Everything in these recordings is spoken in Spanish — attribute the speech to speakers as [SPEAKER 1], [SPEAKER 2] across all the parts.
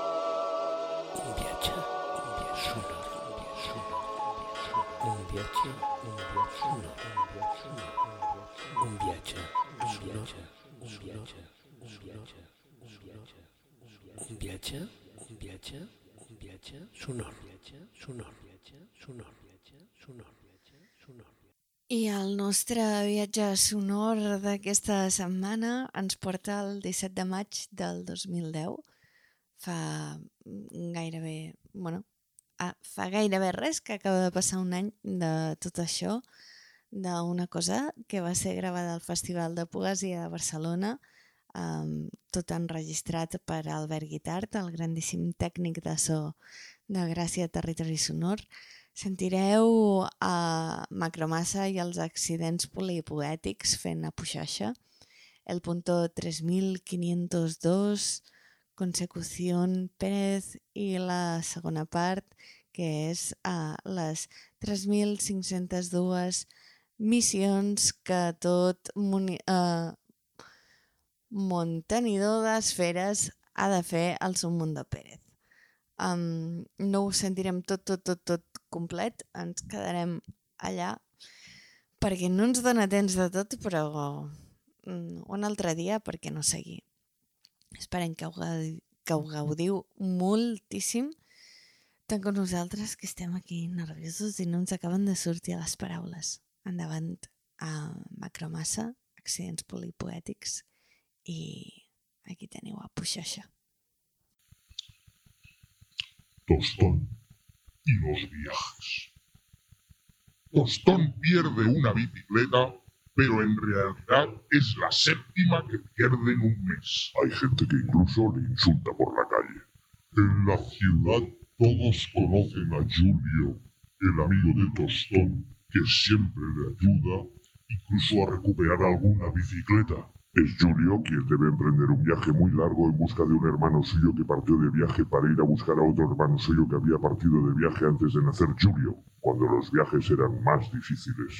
[SPEAKER 1] Un viatge, un viatge sonor, un viatge sonor, un viatge sonor, un viatge sonor, un viatge sonor, un viatge sonor, un viatge, un viatge, un viatge, un viatge sonor, sonor, sonor, sonor, sonor.
[SPEAKER 2] I el nostre viatge sonor d'aquesta setmana ens porta el 17 de maig del 2010. Fa gairebé... Bueno, ah, fa gairebé res que acaba de passar un any de tot això, d'una cosa que va ser gravada al Festival de Poesia de Barcelona, um, tot enregistrat per Albert Guitart, el grandíssim tècnic de so de Gràcia Territori Sonor. Sentireu a Macromassa i els accidents polipoètics fent a Puxaixa, el punto 3502, Consecución Pérez i la segona part, que és a les 3.502 missions que tot muni, eh, montenidor d'esferes ha de fer al seu Mundo Pérez. Um, no ho sentirem tot, tot, tot, tot complet. Ens quedarem allà perquè no ens dona temps de tot, però mm, un altre dia perquè no seguir. Esperem que ho, gau- que ho gaudiu moltíssim, tant com nosaltres que estem aquí nerviosos i no ens acaben de sortir les paraules. Endavant a Macromassa, accidents polipoètics i aquí teniu a Puixaixa.
[SPEAKER 3] Tostón y los viajes. Tostón pierde una bicicleta, pero en realidad es la séptima que pierde en un mes. Hay gente que incluso le insulta por la calle. En la ciudad todos conocen a Julio, el amigo de Tostón, que siempre le ayuda incluso a recuperar alguna bicicleta. Es Julio quien debe emprender un viaje muy largo en busca de un hermano suyo que partió de viaje para ir a buscar a otro hermano suyo que había partido de viaje antes de nacer Julio, cuando los viajes eran más difíciles.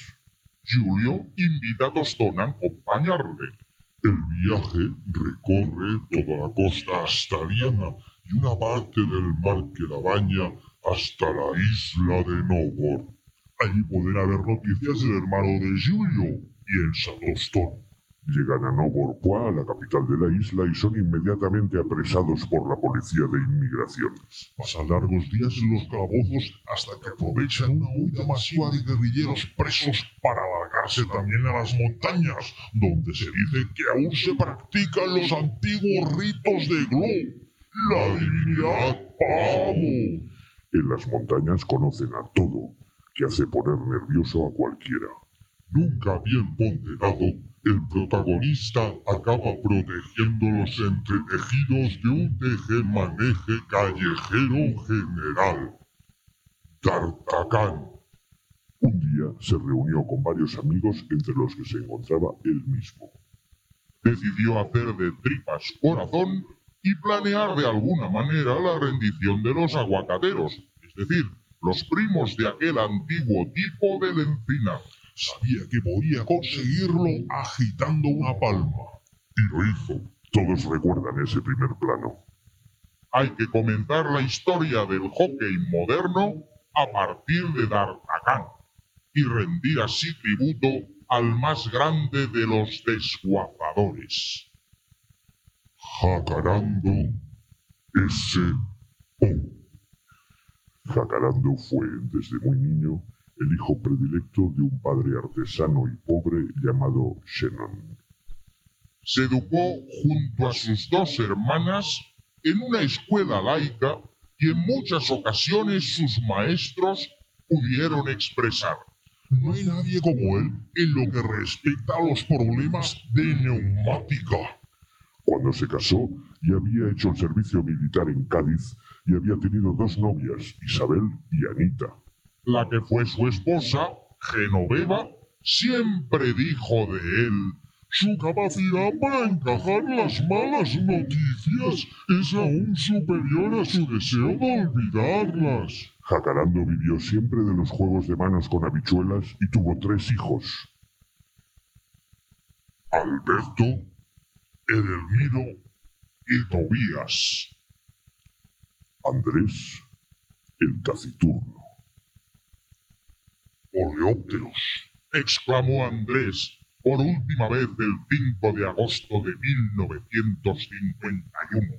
[SPEAKER 3] Julio invita a Tostón a acompañarle. El viaje recorre toda la costa hasta Diana y una parte del mar que la baña hasta la isla de Nogor. Allí podrá haber noticias del hermano de Julio, piensa Tostón. Llegan a Novorpoa, la capital de la isla, y son inmediatamente apresados por la policía de inmigraciones. Pasan largos días en los calabozos hasta que aprovechan una huida masiva de guerrilleros presos para alargarse también a las montañas, donde se dice que aún se practican los antiguos ritos de Glu, la divinidad pavo. En las montañas conocen a todo, que hace poner nervioso a cualquiera. Nunca bien ponderado, el protagonista acaba protegiendo los entretejidos de un tejemaneje callejero general. Tartacán. Un día se reunió con varios amigos entre los que se encontraba él mismo. Decidió hacer de tripas corazón y planear de alguna manera la rendición de los aguacateros, es decir, los primos de aquel antiguo tipo del encina. Sabía que podía conseguirlo agitando una palma. Y lo hizo. Todos recuerdan ese primer plano. Hay que comentar la historia del hockey moderno a partir de D'Artagnan y rendir así tributo al más grande de los desguazadores. Jacarando ese Jacarando fue desde muy niño el hijo predilecto de un padre artesano y pobre llamado Shannon. Se educó junto a sus dos hermanas en una escuela laica y en muchas ocasiones sus maestros pudieron expresar. No hay nadie como él en lo que respecta a los problemas de neumática. Cuando se casó, ya había hecho el servicio militar en Cádiz y había tenido dos novias, Isabel y Anita. La que fue su esposa, Genoveva, siempre dijo de él, su capacidad para encajar las malas noticias es aún superior a su deseo de olvidarlas. Jacarando vivió siempre de los juegos de manos con habichuelas y tuvo tres hijos. Alberto, Edelmiro y Tobías. Andrés, el taciturno. Oleópteros, exclamó Andrés por última vez el 5 de agosto de 1951.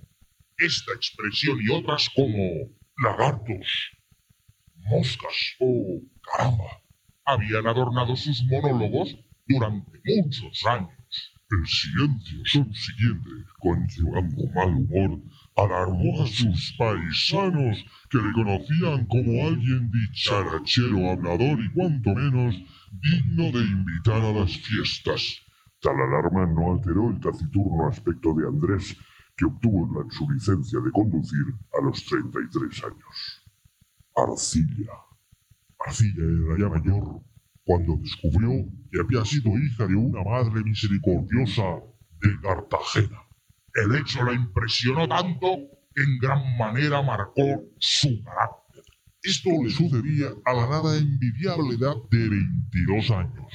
[SPEAKER 3] Esta expresión y otras como lagartos, moscas o caramba habían adornado sus monólogos durante muchos años. El silencio subsiguiente, conllevando mal humor, alarmó a sus paisanos que le conocían como alguien dicharachero, hablador y cuanto menos digno de invitar a las fiestas. Tal alarma no alteró el taciturno aspecto de Andrés, que obtuvo la- su licencia de conducir a los 33 años. Arcilla. Arcilla era ya mayor cuando descubrió que había sido hija de una madre misericordiosa de Cartagena. El hecho la impresionó tanto que en gran manera marcó su carácter. Esto le sucedía a la nada envidiable edad de 22 años.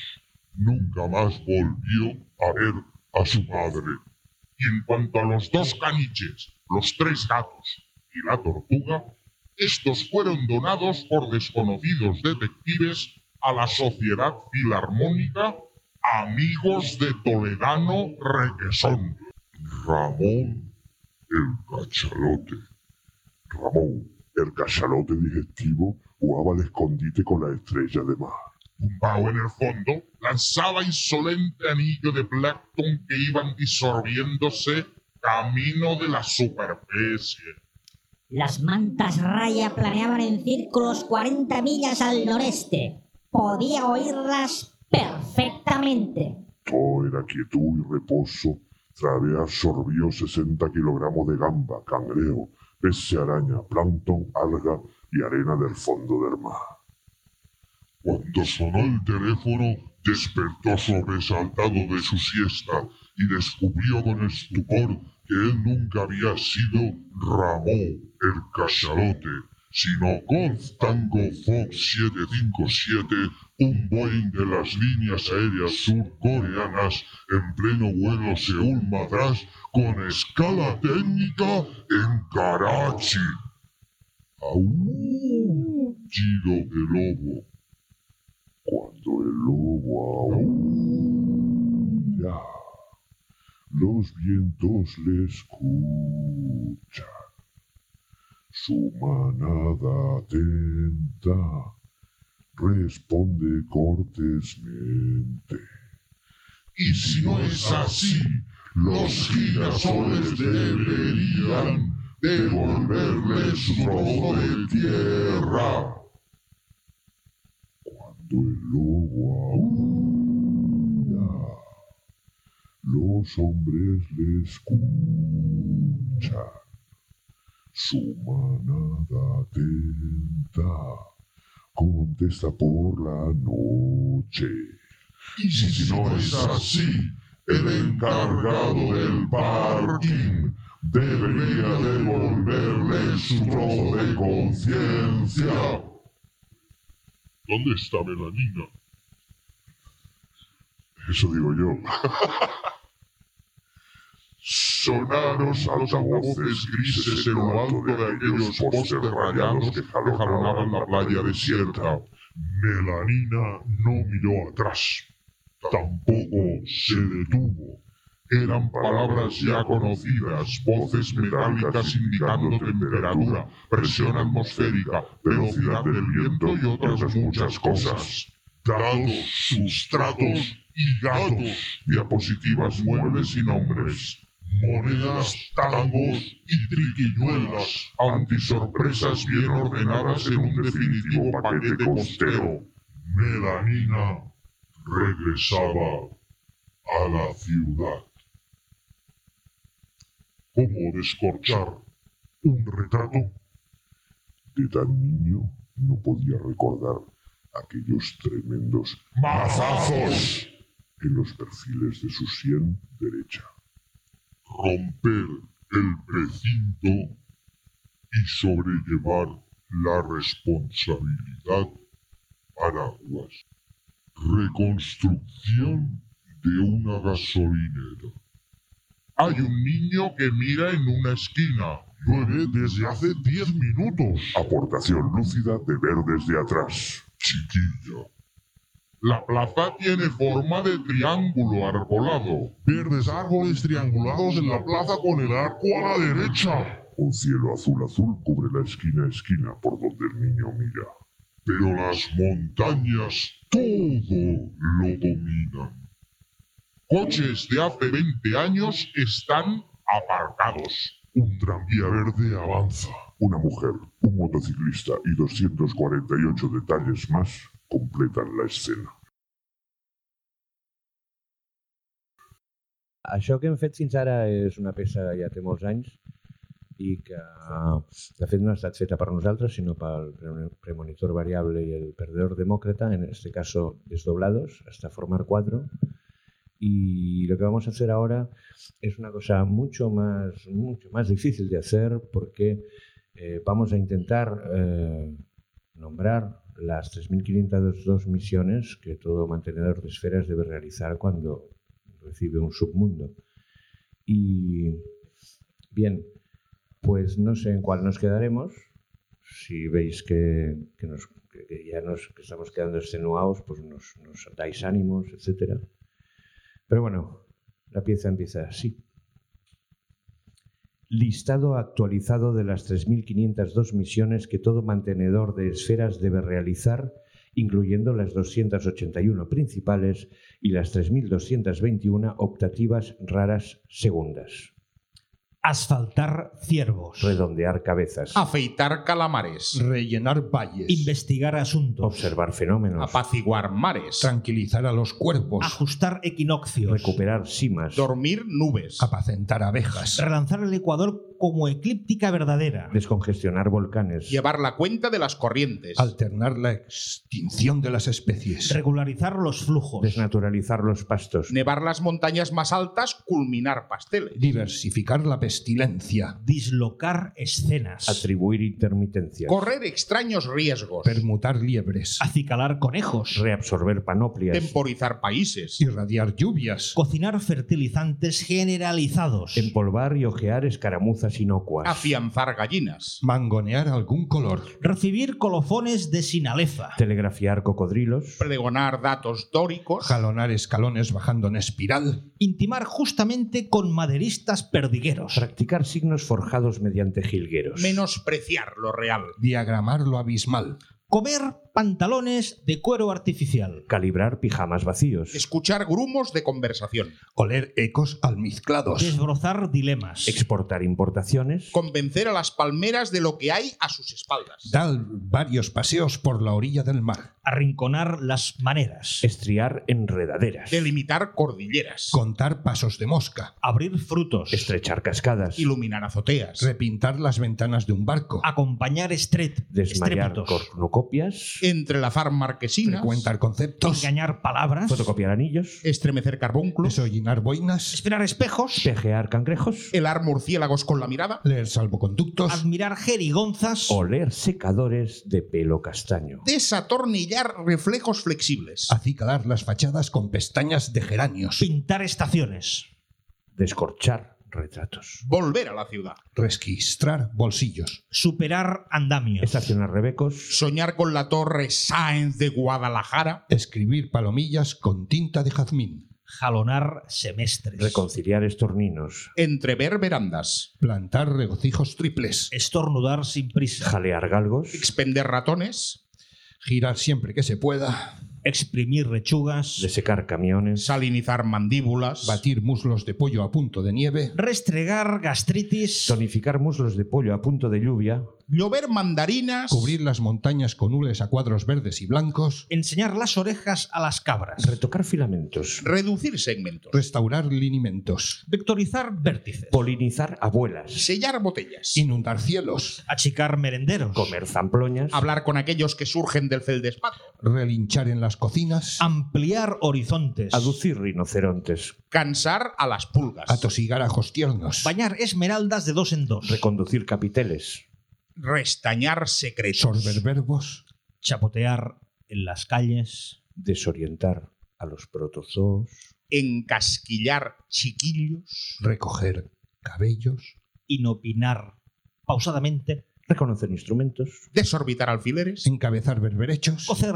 [SPEAKER 3] Nunca más volvió a ver a su madre. Y en cuanto a los dos caniches, los tres gatos y la tortuga, estos fueron donados por desconocidos detectives a la Sociedad Filarmónica Amigos de Toledano Requesón. Ramón el cachalote. Ramón, el cachalote digestivo, jugaba al escondite con la estrella de mar. Tumbado en el fondo, lanzaba insolente anillo de plancton que iban disolviéndose camino de la superficie.
[SPEAKER 4] Las mantas raya planeaban en círculos 40 millas al noreste. Podía oírlas perfectamente.
[SPEAKER 3] Todo era quietud y reposo. Travea absorbió 60 kilogramos de gamba, cangreo, pez araña, plancton, alga y arena del fondo del mar. Cuando sonó el teléfono, despertó sobresaltado de su siesta y descubrió con estupor que él nunca había sido Ramón el Cachalote, sino Golf Tango Fox 757, un Boeing de las líneas aéreas surcoreanas en pleno vuelo Seúl-Madras con escala técnica en Karachi. Aullido de lobo. Cuando el lobo aulla, los vientos le escuchan. Su manada atenta responde cortésmente. Y si no es así, los girasoles deberían devolverle su trozo de tierra. Cuando el lobo aúlla, los hombres le escuchan. Su manada atenta contesta por la noche. Y si no es así, el encargado del parking debería devolverle su trozo de conciencia. ¿Dónde está Melanina? Eso digo yo. Sonaros altavoces grises en lo alto de aquellos postes rayados que jalonaban la playa desierta. Melanina no miró atrás. Tampoco se detuvo. Eran palabras ya conocidas, voces metálicas indicando temperatura, presión atmosférica, velocidad del viento y otras muchas cosas. Dados, sustratos y datos, diapositivas muebles y nombres, monedas, tangos y triquiñuelas, antisorpresas bien ordenadas en un definitivo paquete costero. Melanina regresaba a la ciudad. ¿Cómo descorchar un retrato? De tan niño no podía recordar aquellos tremendos mazazos en los perfiles de su sien derecha. Romper el precinto y sobrellevar la responsabilidad paraguas. Reconstrucción de una gasolinera. Hay un niño que mira en una esquina. Llueve desde hace 10 minutos. Aportación lúcida de ver desde atrás. Chiquilla. La plaza tiene forma de triángulo arbolado. Verdes árboles triangulados en la plaza con el arco a la derecha. Un cielo azul azul cubre la esquina a esquina por donde el niño mira. Pero las montañas todo lo dominan. Coches de hace 20 años están aparcados. Un tranvía verde avanza. Una mujer, un motociclista y 248 detalles más completan la escena.
[SPEAKER 5] Això que hem fet fins ara és una peça que ja té molts anys i que, de fet, no ha estat feta per nosaltres, sinó pel pre- premonitor variable i el perdedor demócrata, en este caso desdoblados, hasta formar cuatro. Y lo que vamos a hacer ahora es una cosa mucho más, mucho más difícil de hacer porque eh, vamos a intentar eh, nombrar las 3.502 misiones que todo mantenedor de esferas debe realizar cuando recibe un submundo. Y bien, pues no sé en cuál nos quedaremos. Si veis que, que nos- que- que ya nos que estamos quedando extenuados, pues nos, nos dais ánimos, etcétera. Pero bueno, la pieza empieza así. Listado actualizado de las 3.502 misiones que todo mantenedor de esferas debe realizar, incluyendo las 281 principales y las 3.221 optativas raras segundas.
[SPEAKER 6] Asfaltar ciervos.
[SPEAKER 5] Redondear cabezas,
[SPEAKER 3] Ah.
[SPEAKER 7] Afeitar calamares.
[SPEAKER 8] Mm. Rellenar valles.
[SPEAKER 6] Investigar asuntos.
[SPEAKER 5] observar fenómenos,
[SPEAKER 7] Apaciguar mares.
[SPEAKER 8] Tranquilizar a los cuerpos.
[SPEAKER 6] Ajustar equinoccios.
[SPEAKER 5] recuperar simas,
[SPEAKER 7] Dormir nubes.
[SPEAKER 8] Apacentar abejas.
[SPEAKER 6] Relanzar el Ecuador como eclíptica verdadera.
[SPEAKER 5] descongestionar volcanes,
[SPEAKER 7] Llevar la cuenta de las corrientes.
[SPEAKER 8] Alternar la extinción de las especies.
[SPEAKER 6] Regularizar los flujos.
[SPEAKER 5] desnaturalizar los pastos,
[SPEAKER 7] Nevar las montañas más altas. Culminar pasteles.
[SPEAKER 8] Diversificar la pestilencia.
[SPEAKER 6] Dislocar escenas.
[SPEAKER 5] atribuir intermitencias,
[SPEAKER 7] Correr extraños riesgos.
[SPEAKER 8] Permutar liebres.
[SPEAKER 6] Acicalar conejos.
[SPEAKER 5] reabsorber panoplias,
[SPEAKER 7] Temporizar países.
[SPEAKER 8] Irradiar lluvias.
[SPEAKER 6] Cocinar fertilizantes generalizados.
[SPEAKER 5] Em- empolvar y ojear escaramuzas inocuas,
[SPEAKER 7] Afianzar gallinas.
[SPEAKER 8] Mangonear algún color.
[SPEAKER 6] Recibir colofones de sinaleza.
[SPEAKER 5] telegrafiar cocodrilos,
[SPEAKER 7] Pregonar datos dóricos.
[SPEAKER 8] Jalonar escalones bajando en espiral.
[SPEAKER 6] Intimar justamente con maderistas perdigueros.
[SPEAKER 5] practicar signos forjados mediante jilgueros,
[SPEAKER 7] Menospreciar lo real.
[SPEAKER 8] Diagramar lo abismal.
[SPEAKER 6] Comer pantalones de cuero artificial.
[SPEAKER 5] calibrar pijamas vacíos,
[SPEAKER 7] Escuchar grumos de conversación.
[SPEAKER 8] Oler ecos almizclados.
[SPEAKER 6] Desbrozar dilemas.
[SPEAKER 5] exportar importaciones,
[SPEAKER 7] Convencer a las palmeras de lo que hay a sus espaldas.
[SPEAKER 8] Dar varios paseos por la orilla del mar.
[SPEAKER 6] Arrinconar las maneras.
[SPEAKER 5] estriar enredaderas,
[SPEAKER 7] Delimitar cordilleras.
[SPEAKER 8] Contar pasos de mosca.
[SPEAKER 6] Abrir frutos.
[SPEAKER 5] estrechar cascadas,
[SPEAKER 7] Iluminar azoteas.
[SPEAKER 8] Repintar las ventanas de un barco.
[SPEAKER 6] Acompañar estret.
[SPEAKER 5] desmayar
[SPEAKER 6] estrépitos.
[SPEAKER 5] cornucopias,
[SPEAKER 7] Entrelazar marquesinas.
[SPEAKER 8] Frecuentar conceptos.
[SPEAKER 6] Engañar palabras.
[SPEAKER 5] fotocopiar anillos,
[SPEAKER 7] Estremecer carbúnculos.
[SPEAKER 8] Desollinar boinas.
[SPEAKER 6] Esperar espejos.
[SPEAKER 5] tejear cangrejos,
[SPEAKER 7] Helar murciélagos con la mirada.
[SPEAKER 8] Leer salvoconductos.
[SPEAKER 6] Admirar jerigonzas.
[SPEAKER 5] oler secadores de pelo castaño,
[SPEAKER 7] Desatornillar reflejos flexibles.
[SPEAKER 8] Acicalar las fachadas con pestañas de geranios.
[SPEAKER 6] Pintar estaciones.
[SPEAKER 5] descorchar retratos,
[SPEAKER 7] Volver a la ciudad.
[SPEAKER 8] Registrar bolsillos.
[SPEAKER 6] Superar andamios.
[SPEAKER 5] estacionar rebecos,
[SPEAKER 7] Soñar con la torre Sáenz de Guadalajara.
[SPEAKER 8] Escribir palomillas con tinta de jazmín.
[SPEAKER 6] jalonar semestres.
[SPEAKER 5] Reconciliar estorninos.
[SPEAKER 3] Entrever verandas.
[SPEAKER 8] Plantar regocijos triples.
[SPEAKER 6] Estornudar sin prisa.
[SPEAKER 5] Jalear galgos.
[SPEAKER 3] Expender ratones.
[SPEAKER 8] Girar siempre que se pueda.
[SPEAKER 6] Exprimir lechugas.
[SPEAKER 5] Desecar camiones.
[SPEAKER 3] Salinizar mandíbulas.
[SPEAKER 8] Batir muslos de pollo a punto de nieve.
[SPEAKER 6] Restregar gastritis.
[SPEAKER 5] Tonificar muslos de pollo a punto de lluvia.
[SPEAKER 3] Llover mandarinas.
[SPEAKER 8] Cubrir las montañas con hules a cuadros verdes y blancos.
[SPEAKER 6] Enseñar las orejas a las cabras.
[SPEAKER 5] Retocar filamentos.
[SPEAKER 3] Reducir segmentos.
[SPEAKER 8] Restaurar linimentos.
[SPEAKER 6] Vectorizar vértices.
[SPEAKER 5] Polinizar abuelas.
[SPEAKER 3] Sellar botellas.
[SPEAKER 8] Inundar cielos.
[SPEAKER 6] Achicar merenderos.
[SPEAKER 5] Comer zamploñas.
[SPEAKER 3] Hablar con aquellos que surgen del feldespato.
[SPEAKER 8] Relinchar en las cocinas.
[SPEAKER 6] Ampliar horizontes.
[SPEAKER 5] Aducir rinocerontes.
[SPEAKER 3] Cansar a las pulgas.
[SPEAKER 8] Atosigar ajos tiernos.
[SPEAKER 6] Bañar esmeraldas de dos en dos.
[SPEAKER 5] Reconducir capiteles.
[SPEAKER 3] Restañar secretos.
[SPEAKER 8] Sorber verbos.
[SPEAKER 6] Chapotear en las calles.
[SPEAKER 5] Desorientar a los protozoos.
[SPEAKER 3] Encasquillar chiquillos.
[SPEAKER 8] Recoger cabellos.
[SPEAKER 6] Inopinar pausadamente.
[SPEAKER 5] Reconocer instrumentos.
[SPEAKER 3] Desorbitar alfileres.
[SPEAKER 8] Encabezar berberechos.
[SPEAKER 6] Cocer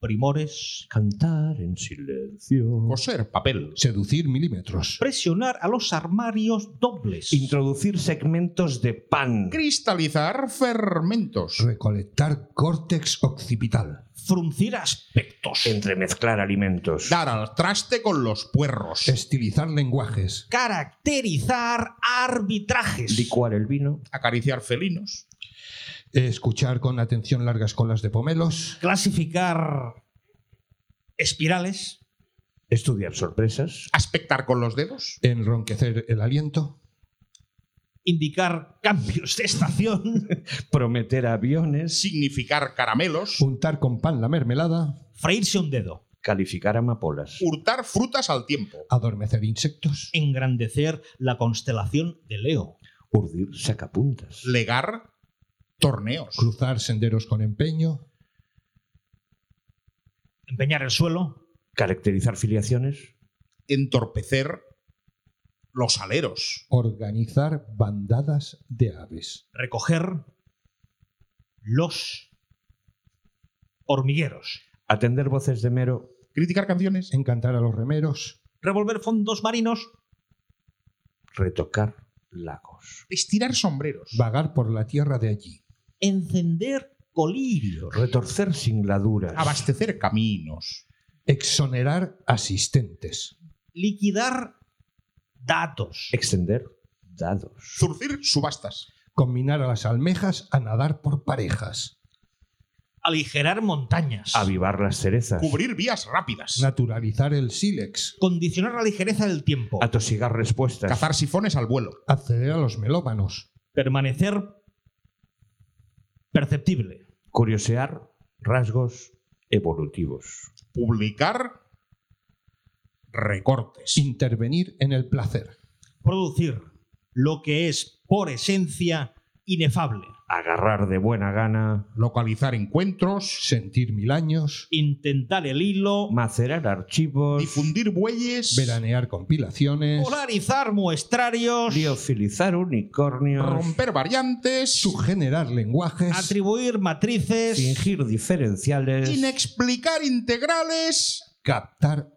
[SPEAKER 6] primores.
[SPEAKER 5] Cantar en silencio.
[SPEAKER 3] Coser papel.
[SPEAKER 8] Seducir milímetros.
[SPEAKER 6] Presionar a los armarios dobles.
[SPEAKER 5] Introducir segmentos de pan.
[SPEAKER 3] Cristalizar fermentos.
[SPEAKER 8] Recolectar córtex occipital.
[SPEAKER 6] fruncir aspectos.
[SPEAKER 5] Entremezclar alimentos.
[SPEAKER 3] Dar al traste con los puerros.
[SPEAKER 8] Estilizar lenguajes.
[SPEAKER 6] caracterizar arbitrajes.
[SPEAKER 5] Licuar el vino.
[SPEAKER 3] Acariciar felinos.
[SPEAKER 8] Escuchar con atención largas colas de pomelos.
[SPEAKER 6] clasificar espirales.
[SPEAKER 5] Estudiar sorpresas.
[SPEAKER 3] Aspectar con los dedos.
[SPEAKER 8] Enronquecer el aliento.
[SPEAKER 6] Indicar cambios de estación,
[SPEAKER 5] Prometer aviones.
[SPEAKER 3] Significar caramelos.
[SPEAKER 8] Untar con pan la mermelada.
[SPEAKER 6] freírse un dedo,
[SPEAKER 5] Calificar amapolas.
[SPEAKER 3] Hurtar frutas al tiempo.
[SPEAKER 8] Adormecer insectos.
[SPEAKER 6] engrandecer la constelación de Leo,
[SPEAKER 5] Urdir sacapuntas.
[SPEAKER 3] Legar torneos.
[SPEAKER 8] Cruzar senderos con empeño.
[SPEAKER 6] empeñar el suelo,
[SPEAKER 5] Caracterizar filiaciones.
[SPEAKER 3] Entorpecer los aleros.
[SPEAKER 8] Organizar bandadas de aves.
[SPEAKER 6] recoger los hormigueros,
[SPEAKER 5] Atender voces de mero.
[SPEAKER 3] Criticar canciones.
[SPEAKER 8] Encantar a los remeros.
[SPEAKER 6] revolver fondos marinos,
[SPEAKER 5] Retocar lagos.
[SPEAKER 3] Estirar sombreros.
[SPEAKER 8] Vagar por la tierra de allí.
[SPEAKER 6] encender colirios,
[SPEAKER 5] Retorcer singladuras.
[SPEAKER 3] Abastecer caminos.
[SPEAKER 8] Exonerar asistentes.
[SPEAKER 6] liquidar datos,
[SPEAKER 5] Extender dados.
[SPEAKER 3] Zurcir subastas.
[SPEAKER 8] Combinar a las almejas a nadar por parejas.
[SPEAKER 6] aligerar montañas,
[SPEAKER 5] Avivar las cerezas.
[SPEAKER 3] Cubrir vías rápidas.
[SPEAKER 8] Naturalizar el sílex.
[SPEAKER 6] condicionar la ligereza del tiempo,
[SPEAKER 5] Atosigar respuestas.
[SPEAKER 3] Cazar sifones al vuelo.
[SPEAKER 8] Acceder a los melómanos.
[SPEAKER 6] permanecer perceptible,
[SPEAKER 5] Curiosear rasgos evolutivos.
[SPEAKER 3] Publicar recortes.
[SPEAKER 8] Intervenir en el placer.
[SPEAKER 6] producir lo que es por esencia inefable,
[SPEAKER 5] Agarrar de buena gana.
[SPEAKER 3] Localizar encuentros.
[SPEAKER 8] Sentir mil años.
[SPEAKER 6] intentar el hilo,
[SPEAKER 5] Macerar archivos.
[SPEAKER 3] Difundir bueyes.
[SPEAKER 8] Veranear compilaciones.
[SPEAKER 6] polarizar muestrarios,
[SPEAKER 5] Liofilizar unicornios.
[SPEAKER 3] Romper variantes.
[SPEAKER 8] Subgenerar lenguajes.
[SPEAKER 6] atribuir matrices,
[SPEAKER 5] Fingir diferenciales.
[SPEAKER 3] Inexplicar integrales.
[SPEAKER 8] Captar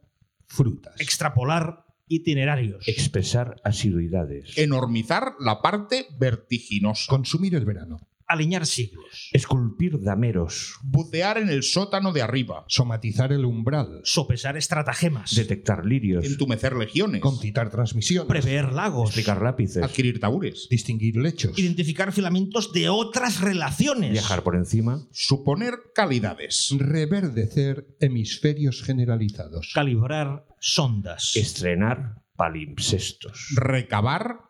[SPEAKER 8] frutas.
[SPEAKER 6] extrapolar itinerarios,
[SPEAKER 5] Expresar asiduidades.
[SPEAKER 3] Enormizar la parte vertiginosa.
[SPEAKER 8] Consumir el verano.
[SPEAKER 6] alinear siglos,
[SPEAKER 5] Esculpir dameros.
[SPEAKER 3] Bucear en el sótano de arriba.
[SPEAKER 8] Somatizar el umbral.
[SPEAKER 6] sopesar estratagemas,
[SPEAKER 5] Detectar lirios.
[SPEAKER 3] Entumecer legiones.
[SPEAKER 8] Concitar transmisiones.
[SPEAKER 6] prever lagos,
[SPEAKER 5] Explicar lápices.
[SPEAKER 3] Adquirir tabures.
[SPEAKER 8] distinguir lechos.
[SPEAKER 6] identificar filamentos de otras relaciones,
[SPEAKER 5] Viajar por encima.
[SPEAKER 3] Suponer calidades.
[SPEAKER 8] Reverdecer hemisferios generalizados.
[SPEAKER 6] calibrar sondas,
[SPEAKER 5] Estrenar palimpsestos.
[SPEAKER 3] Recabar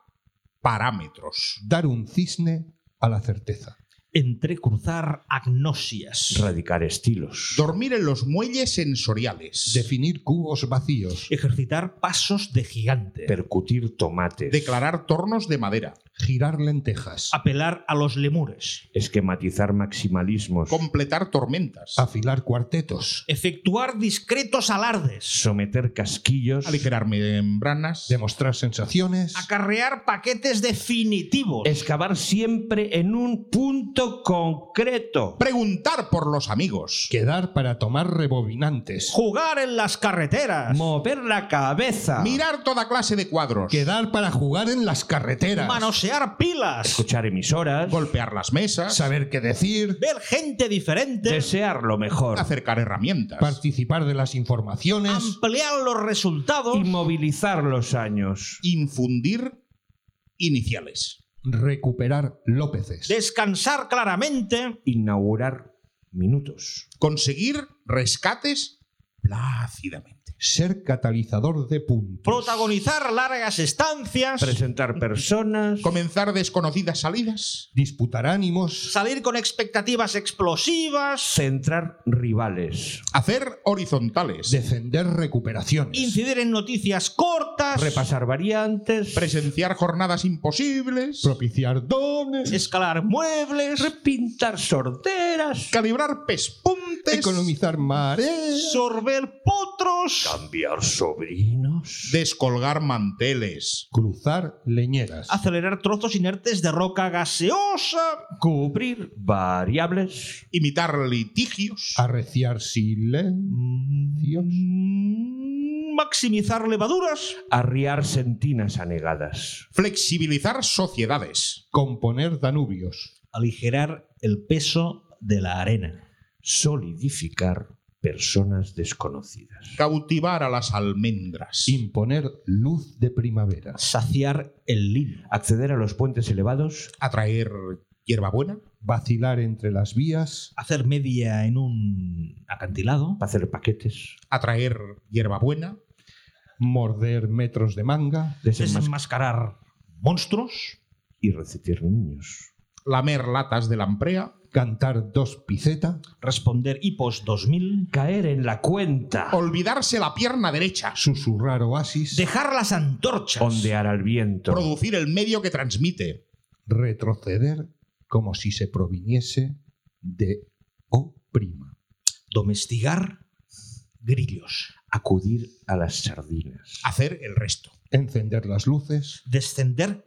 [SPEAKER 3] parámetros.
[SPEAKER 8] Dar un cisne a la certeza.
[SPEAKER 6] entrecruzar agnosias,
[SPEAKER 5] Radicar estilos.
[SPEAKER 3] Dormir en los muelles sensoriales.
[SPEAKER 8] Definir cubos vacíos.
[SPEAKER 6] ejercitar pasos de gigante,
[SPEAKER 5] Percutir tomates.
[SPEAKER 3] Declarar tornos de madera. Girar lentejas.
[SPEAKER 6] Apelar a los lemures.
[SPEAKER 5] Esquematizar maximalismos.
[SPEAKER 9] Completar tormentas.
[SPEAKER 3] Afilar cuartetos.
[SPEAKER 6] Efectuar discretos alardes.
[SPEAKER 5] Someter casquillos.
[SPEAKER 9] Aligerar membranas.
[SPEAKER 3] Demostrar sensaciones.
[SPEAKER 6] Acarrear paquetes definitivos.
[SPEAKER 5] Excavar siempre en un punto concreto.
[SPEAKER 9] Preguntar por los amigos.
[SPEAKER 3] Quedar para tomar rebobinantes.
[SPEAKER 6] Jugar en las carreteras.
[SPEAKER 5] Mover la cabeza.
[SPEAKER 9] Mirar toda clase de cuadros.
[SPEAKER 3] Quedar para jugar en las carreteras.
[SPEAKER 6] Manosear pilas.
[SPEAKER 5] Escuchar emisoras.
[SPEAKER 9] Golpear las mesas.
[SPEAKER 3] Saber qué decir.
[SPEAKER 6] Ver gente diferente.
[SPEAKER 5] Desear lo mejor.
[SPEAKER 9] Acercar herramientas.
[SPEAKER 3] Participar de las informaciones.
[SPEAKER 6] ampliar los resultados.
[SPEAKER 5] Y movilizar los años.
[SPEAKER 9] Infundir iniciales.
[SPEAKER 3] Recuperar Lópeces.
[SPEAKER 6] descansar claramente.
[SPEAKER 5] Inaugurar minutos.
[SPEAKER 9] Conseguir rescates plácidamente.
[SPEAKER 3] Ser catalizador de puntos.
[SPEAKER 6] Protagonizar largas estancias.
[SPEAKER 5] Presentar personas.
[SPEAKER 9] Comenzar desconocidas salidas.
[SPEAKER 3] Disputar ánimos.
[SPEAKER 6] Salir con expectativas explosivas.
[SPEAKER 5] Centrar rivales.
[SPEAKER 9] Hacer horizontales.
[SPEAKER 3] Defender recuperaciones.
[SPEAKER 6] Pues Incidir en noticias cortas.
[SPEAKER 5] Repasar variantes.
[SPEAKER 9] presenciar jornadas imposibles.
[SPEAKER 3] propiciar dones.
[SPEAKER 6] Escalar muebles.
[SPEAKER 5] Repintar sorteras.
[SPEAKER 9] calibrar pespuntes.
[SPEAKER 3] economizar mares.
[SPEAKER 6] Sorber potros.
[SPEAKER 5] Cambiar sobrinos.
[SPEAKER 9] Descolgar manteles.
[SPEAKER 3] cruzar leñeras.
[SPEAKER 6] Acelerar trozos inertes de roca gaseosa.
[SPEAKER 5] Cubrir variables.
[SPEAKER 9] Imitar litigios.
[SPEAKER 3] arreciar silencios.
[SPEAKER 6] Mm, Maximizar levaduras.
[SPEAKER 5] Arriar sentinas anegadas.
[SPEAKER 9] Flexibilizar sociedades.
[SPEAKER 3] componer danubios.
[SPEAKER 6] Aligerar el peso de la arena.
[SPEAKER 5] Solidificar personas desconocidas.
[SPEAKER 9] Cautivar a las almendras.
[SPEAKER 3] imponer luz de primavera.
[SPEAKER 6] Saciar el lino.
[SPEAKER 5] Acceder a los puentes elevados.
[SPEAKER 9] Atraer hierbabuena.
[SPEAKER 3] vacilar entre las vías.
[SPEAKER 6] Hacer media en un acantilado.
[SPEAKER 5] Hacer paquetes.
[SPEAKER 9] Atraer hierbabuena.
[SPEAKER 3] morder metros de manga.
[SPEAKER 5] Desenmascarar.
[SPEAKER 6] Desenmascarar monstruos.
[SPEAKER 5] Y recetar niños.
[SPEAKER 9] Lamer latas de lamprea.
[SPEAKER 3] cantar dos piceta.
[SPEAKER 6] Responder hipos 2000.
[SPEAKER 5] Caer en la cuenta.
[SPEAKER 9] Olvidarse la pierna derecha.
[SPEAKER 3] susurrar oasis.
[SPEAKER 6] Dejar las antorchas.
[SPEAKER 5] Ondear al viento.
[SPEAKER 9] Producir el medio que transmite.
[SPEAKER 3] retroceder como si se proviniese de O prima.
[SPEAKER 6] Domesticar grillos.
[SPEAKER 5] Acudir a las sardinas.
[SPEAKER 9] Hacer el resto.
[SPEAKER 3] Encender las luces.
[SPEAKER 6] Descender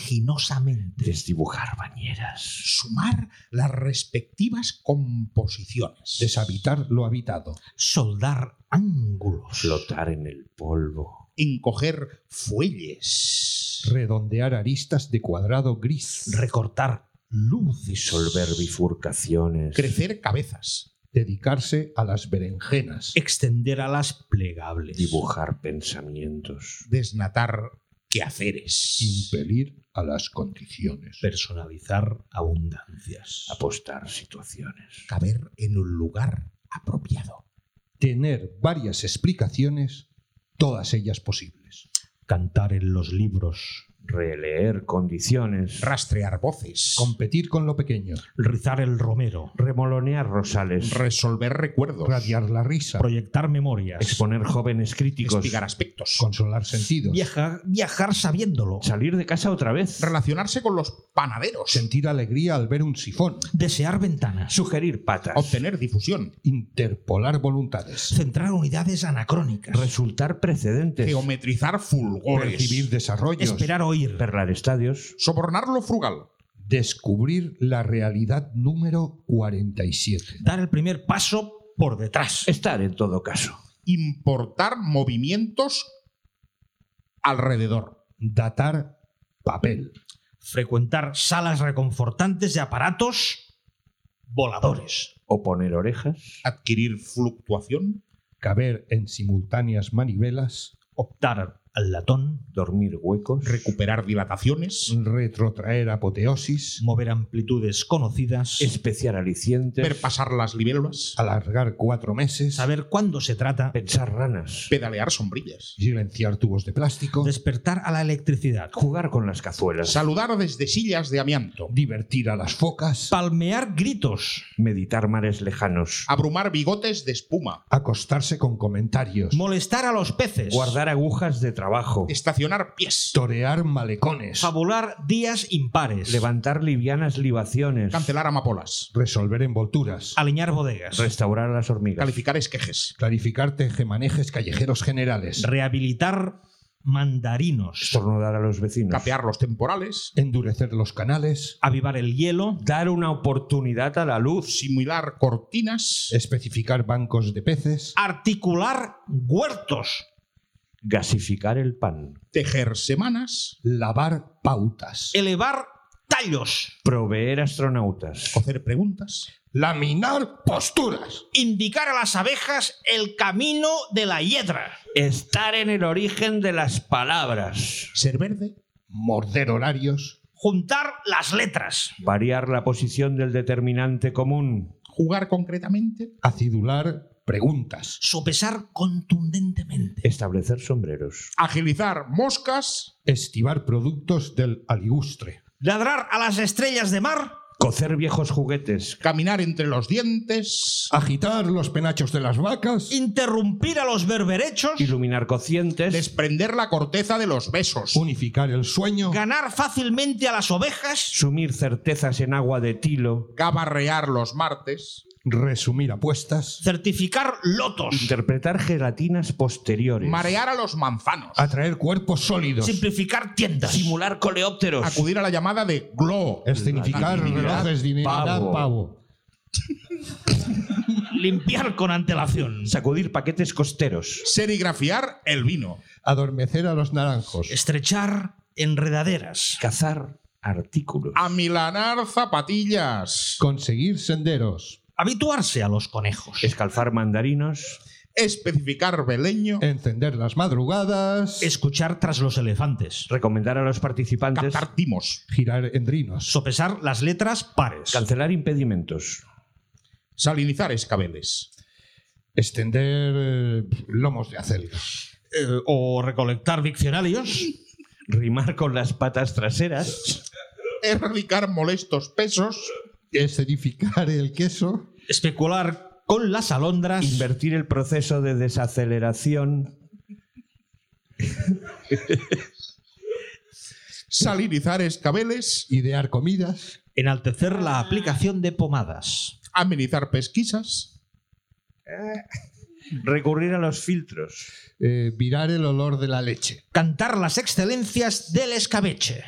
[SPEAKER 6] vertiginosamente.
[SPEAKER 5] Desdibujar bañeras.
[SPEAKER 9] Sumar las respectivas composiciones.
[SPEAKER 3] Deshabitar lo habitado.
[SPEAKER 6] Soldar ángulos.
[SPEAKER 5] Flotar en el polvo.
[SPEAKER 9] Encoger fuelles.
[SPEAKER 3] Redondear aristas de cuadrado gris.
[SPEAKER 6] Recortar luz.
[SPEAKER 5] Disolver bifurcaciones.
[SPEAKER 9] Crecer cabezas.
[SPEAKER 3] dedicarse a las berenjenas.
[SPEAKER 9] Eh-
[SPEAKER 6] Extender alas plegables.
[SPEAKER 5] Dibujar pensamientos.
[SPEAKER 9] Desnatar quehaceres.
[SPEAKER 3] Impelir a las condiciones.
[SPEAKER 6] Personalizar abundancias.
[SPEAKER 5] Apostar situaciones.
[SPEAKER 9] Caber en un lugar apropiado.
[SPEAKER 3] Tener varias explicaciones, todas ellas posibles.
[SPEAKER 6] Cantar en los libros.
[SPEAKER 5] Releer condiciones.
[SPEAKER 9] Rastrear voces.
[SPEAKER 3] Competir con lo pequeño.
[SPEAKER 6] Rizar el romero.
[SPEAKER 5] Remolonear rosales.
[SPEAKER 9] Resolver recuerdos.
[SPEAKER 3] Radiar la risa.
[SPEAKER 6] Proyectar memorias.
[SPEAKER 5] Exponer jóvenes críticos.
[SPEAKER 9] Explicar aspectos.
[SPEAKER 3] Consolar sentidos.
[SPEAKER 6] Viajar, viajar sabiéndolo.
[SPEAKER 5] Salir de casa otra vez.
[SPEAKER 9] Relacionarse con los panaderos.
[SPEAKER 3] Sentir alegría al ver un sifón.
[SPEAKER 6] Desear ventanas.
[SPEAKER 5] Sugerir patas.
[SPEAKER 9] Obtener difusión.
[SPEAKER 3] Interpolar voluntades.
[SPEAKER 6] Centrar unidades anacrónicas.
[SPEAKER 5] Resultar precedentes.
[SPEAKER 9] Geometrizar fulgores.
[SPEAKER 3] Percibir desarrollos.
[SPEAKER 6] Esperar oír.
[SPEAKER 5] Perlar estadios.
[SPEAKER 9] Sobornar lo frugal.
[SPEAKER 3] Descubrir la realidad número 47.
[SPEAKER 6] Dar el primer paso por detrás.
[SPEAKER 5] Estar en todo caso.
[SPEAKER 9] Importar movimientos alrededor.
[SPEAKER 3] Datar papel.
[SPEAKER 6] Frecuentar salas reconfortantes de aparatos voladores.
[SPEAKER 5] O poner orejas.
[SPEAKER 9] Adquirir fluctuación.
[SPEAKER 3] Caber en simultáneas manivelas.
[SPEAKER 6] Optar al latón.
[SPEAKER 5] Dormir huecos.
[SPEAKER 9] Recuperar dilataciones.
[SPEAKER 3] Retrotraer apoteosis.
[SPEAKER 6] Mover amplitudes conocidas.
[SPEAKER 5] Especiar alicientes.
[SPEAKER 9] Ver pasar las libélulas.
[SPEAKER 3] Alargar cuatro meses.
[SPEAKER 6] Saber cuándo se trata.
[SPEAKER 5] Pensar ranas.
[SPEAKER 9] Pedalear sombrillas.
[SPEAKER 3] Silenciar tubos de plástico.
[SPEAKER 6] Despertar a la electricidad.
[SPEAKER 5] Jugar con las cazuelas.
[SPEAKER 9] Saludar desde sillas de amianto.
[SPEAKER 3] Divertir a las focas.
[SPEAKER 6] Palmear gritos.
[SPEAKER 5] Meditar mares lejanos.
[SPEAKER 10] Ah,
[SPEAKER 9] Abrumar bigotes de espuma.
[SPEAKER 3] Acostarse con comentarios.
[SPEAKER 10] pues.
[SPEAKER 6] Molestar a los peces.
[SPEAKER 5] Guardar agujas de trabajo.
[SPEAKER 10] Estacionar pies.
[SPEAKER 3] Torear malecones.
[SPEAKER 6] Fabular días impares.
[SPEAKER 5] Levantar livianas libaciones.
[SPEAKER 10] Cancelar amapolas.
[SPEAKER 3] Resolver envolturas.
[SPEAKER 6] Aliñar bodegas.
[SPEAKER 5] Restaurar a las hormigas.
[SPEAKER 10] Calificar esquejes.
[SPEAKER 3] Clarificar tejemanejes callejeros generales.
[SPEAKER 6] Rehabilitar mandarinos.
[SPEAKER 5] Estornudar a los vecinos.
[SPEAKER 10] Capear los temporales.
[SPEAKER 3] Endurecer los canales.
[SPEAKER 6] Avivar el hielo.
[SPEAKER 5] Dar una oportunidad a la luz.
[SPEAKER 10] Simular cortinas.
[SPEAKER 3] Especificar bancos de peces.
[SPEAKER 6] Articular huertos.
[SPEAKER 5] Gasificar el pan.
[SPEAKER 10] Tejer semanas. E-
[SPEAKER 3] Lavar pautas.
[SPEAKER 6] Elevar tallos.
[SPEAKER 5] Proveer astronautas.
[SPEAKER 10] Cocer preguntas.
[SPEAKER 3] Laminar posturas.
[SPEAKER 6] Indicar a las abejas el camino de la hiedra.
[SPEAKER 5] Estar en el origen de las palabras.
[SPEAKER 10] Ser verde.
[SPEAKER 3] Morder horarios.
[SPEAKER 6] Juntar las letras.
[SPEAKER 5] Variar la posición del determinante común.
[SPEAKER 10] Jugar concretamente.
[SPEAKER 3] Acidular preguntas.
[SPEAKER 6] Sopesar contundentemente.
[SPEAKER 5] Establecer sombreros.
[SPEAKER 10] Agilizar moscas.
[SPEAKER 3] Estivar productos del aligustre.
[SPEAKER 6] Ladrar a las estrellas de mar.
[SPEAKER 5] Cocer viejos juguetes.
[SPEAKER 10] Caminar entre los dientes.
[SPEAKER 3] Agitar los penachos de las vacas.
[SPEAKER 6] Ah. Interrumpir a los berberechos.
[SPEAKER 5] Iluminar cocientes.
[SPEAKER 10] Desprender la corteza de los besos.
[SPEAKER 3] Unificar el sueño.
[SPEAKER 6] Ganar fácilmente a las ovejas.
[SPEAKER 5] Sumir certezas en agua de tilo.
[SPEAKER 10] Cabarrear los martes.
[SPEAKER 3] Resumir apuestas.
[SPEAKER 6] Certificar lotos.
[SPEAKER 5] Interpretar gelatinas posteriores.
[SPEAKER 10] Marear a los manzanos.
[SPEAKER 3] Atraer cuerpos sólidos.
[SPEAKER 6] Simplificar tiendas.
[SPEAKER 5] Simular coleópteros.
[SPEAKER 10] Acudir a la llamada de glow.
[SPEAKER 3] Escenificar relojes, divinidad,
[SPEAKER 5] pavo.
[SPEAKER 3] pavo.
[SPEAKER 6] Limpiar con antelación.
[SPEAKER 5] Sacudir paquetes costeros.
[SPEAKER 10] Serigrafiar el vino.
[SPEAKER 3] Adormecer a los naranjos.
[SPEAKER 6] Estrechar enredaderas.
[SPEAKER 5] Cazar artículos.
[SPEAKER 10] Amilanar zapatillas.
[SPEAKER 3] Conseguir senderos.
[SPEAKER 6] Habituarse a los conejos.
[SPEAKER 5] Escalfar mandarinos.
[SPEAKER 10] Especificar beleño.
[SPEAKER 3] Encender las madrugadas.
[SPEAKER 6] Escuchar tras los elefantes.
[SPEAKER 5] Recomendar a los participantes.
[SPEAKER 10] Captar timos.
[SPEAKER 3] Girar endrinos.
[SPEAKER 6] Sopesar las letras pares.
[SPEAKER 5] Cancelar impedimentos.
[SPEAKER 10] Salinizar escabeles.
[SPEAKER 3] Extender eh, lomos de acelga.
[SPEAKER 6] Eh, o recolectar diccionarios.
[SPEAKER 5] Rimar con las patas traseras.
[SPEAKER 10] Erradicar molestos pesos.
[SPEAKER 3] Escenificar el queso.
[SPEAKER 6] Especular con las alondras.
[SPEAKER 5] Invertir el proceso de desaceleración.
[SPEAKER 10] Salinizar escabeles.
[SPEAKER 3] Idear comidas.
[SPEAKER 6] enaltecer la aplicación de pomadas.
[SPEAKER 10] Amenizar pesquisas.
[SPEAKER 5] Recurrir a los filtros.
[SPEAKER 3] eh, virar el olor de la leche.
[SPEAKER 6] Cantar las excelencias del escabeche.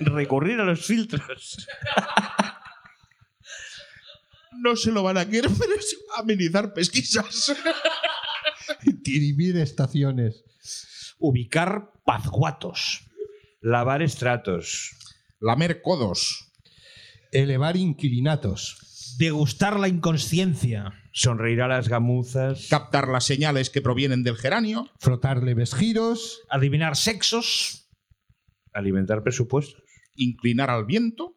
[SPEAKER 5] Recurrir a los filtros.
[SPEAKER 10] No se lo van a querer, pero es amenizar pesquisas.
[SPEAKER 3] Dirimir estaciones.
[SPEAKER 6] Ubicar pazguatos.
[SPEAKER 5] Lavar estratos.
[SPEAKER 10] Lamer codos.
[SPEAKER 3] Elevar inquilinatos.
[SPEAKER 6] Degustar la inconsciencia.
[SPEAKER 5] Sonreír a las gamuzas.
[SPEAKER 10] Captar las señales que provienen del geranio.
[SPEAKER 3] Frotar leves giros.
[SPEAKER 6] Adivinar sexos.
[SPEAKER 5] Alimentar presupuestos.
[SPEAKER 10] Inclinar al viento.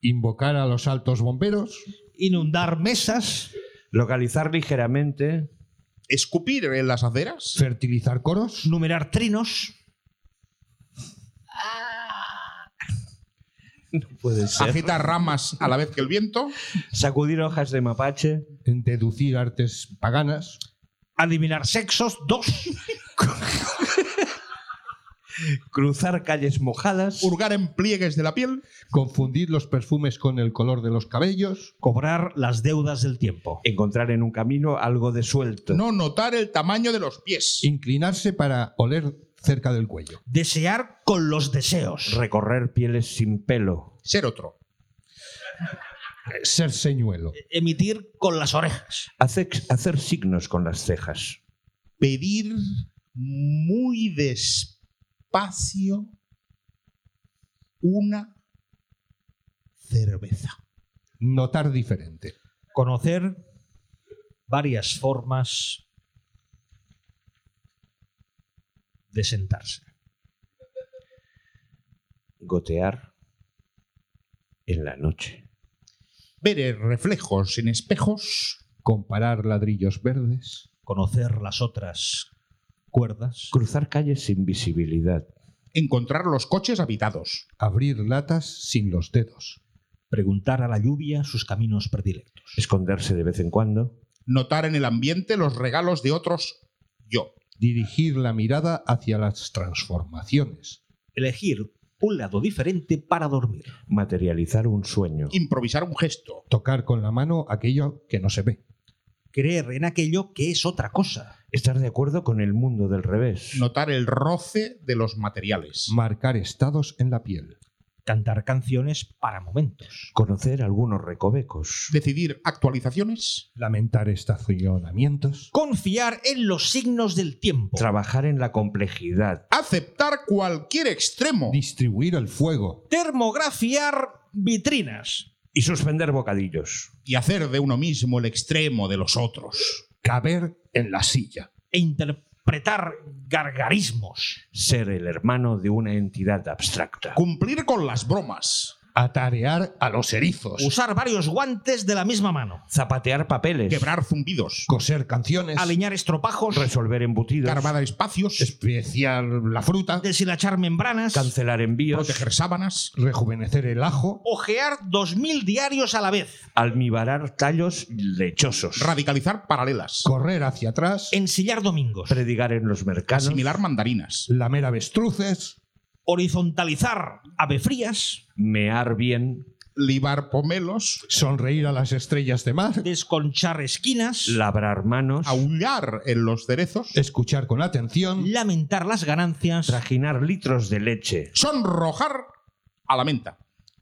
[SPEAKER 3] Invocar a los altos bomberos.
[SPEAKER 6] Inundar mesas.
[SPEAKER 5] Localizar ligeramente.
[SPEAKER 10] Escupir en las aceras.
[SPEAKER 3] Fertilizar coros.
[SPEAKER 6] Numerar trinos.
[SPEAKER 5] No puede ser.
[SPEAKER 10] Agitar ramas a la vez que el viento.
[SPEAKER 5] Sacudir hojas de mapache.
[SPEAKER 3] Deducir artes paganas.
[SPEAKER 6] Adivinar sexos. Dos.
[SPEAKER 5] Cruzar calles mojadas.
[SPEAKER 10] Hurgar en pliegues de la piel.
[SPEAKER 3] Confundir los perfumes con el color de los cabellos.
[SPEAKER 6] Cobrar las deudas del tiempo.
[SPEAKER 5] Encontrar en un camino algo de suelto.
[SPEAKER 10] No notar el tamaño de los pies.
[SPEAKER 3] Inclinarse para oler cerca del cuello.
[SPEAKER 6] Desear con los deseos.
[SPEAKER 5] Recorrer pieles sin pelo.
[SPEAKER 10] Ser otro.
[SPEAKER 3] Ser señuelo.
[SPEAKER 6] Emitir con las orejas.
[SPEAKER 5] Hacer, hacer signos con las cejas.
[SPEAKER 10] Pedir muy despacio una cerveza.
[SPEAKER 3] Notar diferente.
[SPEAKER 6] Conocer varias formas de sentarse.
[SPEAKER 5] Gotear en la noche.
[SPEAKER 10] Ver eh, reflejos en espejos.
[SPEAKER 3] Comparar ladrillos verdes.
[SPEAKER 6] conocer las otras cuerdas,
[SPEAKER 5] Cruzar calles sin visibilidad.
[SPEAKER 10] Encontrar los coches habitados.
[SPEAKER 3] Abrir latas sin los dedos.
[SPEAKER 6] preguntar a la lluvia sus caminos predilectos,
[SPEAKER 5] Esconderse de vez en cuando.
[SPEAKER 10] Notar en el ambiente los regalos de otros yo.
[SPEAKER 11] dirigir la mirada hacia las transformaciones.
[SPEAKER 6] Elegir un lado diferente para dormir.
[SPEAKER 5] Materializar un sueño.
[SPEAKER 3] Improvisar un gesto.
[SPEAKER 11] Tocar con la mano aquello que no se ve.
[SPEAKER 6] Creer en aquello que es otra cosa.
[SPEAKER 5] Estar de acuerdo con el mundo del revés.
[SPEAKER 3] Notar el roce de los materiales.
[SPEAKER 11] Marcar estados en la piel.
[SPEAKER 6] Cantar canciones para momentos.
[SPEAKER 5] Conocer algunos recovecos.
[SPEAKER 3] Decidir actualizaciones.
[SPEAKER 11] Lamentar estacionamientos.
[SPEAKER 6] Confiar en los signos del tiempo.
[SPEAKER 5] Trabajar en la complejidad.
[SPEAKER 3] Aceptar cualquier extremo.
[SPEAKER 11] Distribuir el fuego.
[SPEAKER 6] Termografiar vitrinas.
[SPEAKER 5] Y suspender bocadillos.
[SPEAKER 3] Y hacer de uno mismo el extremo de los otros.
[SPEAKER 11] Caber en la silla.
[SPEAKER 6] E interpretar gargarismos.
[SPEAKER 5] Ser el hermano de una entidad abstracta.
[SPEAKER 3] Cumplir con las bromas.
[SPEAKER 11] Atarear a los erizos.
[SPEAKER 6] Usar varios guantes de la misma mano.
[SPEAKER 5] Zapatear papeles.
[SPEAKER 3] Quebrar zumbidos.
[SPEAKER 11] Coser canciones.
[SPEAKER 6] Alinear estropajos.
[SPEAKER 5] Resolver embutidos.
[SPEAKER 3] Carvar espacios.
[SPEAKER 11] Especiar la fruta.
[SPEAKER 6] Deshilachar membranas.
[SPEAKER 5] Cancelar envíos.
[SPEAKER 3] Proteger sábanas.
[SPEAKER 11] Rejuvenecer el ajo.
[SPEAKER 6] Ojear 2.000 diarios a la vez.
[SPEAKER 5] Almibarar tallos lechosos.
[SPEAKER 3] Radicalizar paralelas.
[SPEAKER 11] Correr hacia atrás.
[SPEAKER 6] Ensillar domingos.
[SPEAKER 5] Predicar en los mercados.
[SPEAKER 3] Asimilar mandarinas.
[SPEAKER 11] Lamer avestruces.
[SPEAKER 6] Horizontalizar ave frías.
[SPEAKER 5] Mear bien.
[SPEAKER 3] Libar pomelos.
[SPEAKER 11] Sonreír a las estrellas de mar.
[SPEAKER 6] Desconchar esquinas.
[SPEAKER 5] Labrar manos.
[SPEAKER 3] Aullar en los cerezos.
[SPEAKER 11] Escuchar Eh, con atención.
[SPEAKER 6] Lamentar las ganancias.
[SPEAKER 5] Trajinar litros de leche.
[SPEAKER 3] Sonrojar a la menta.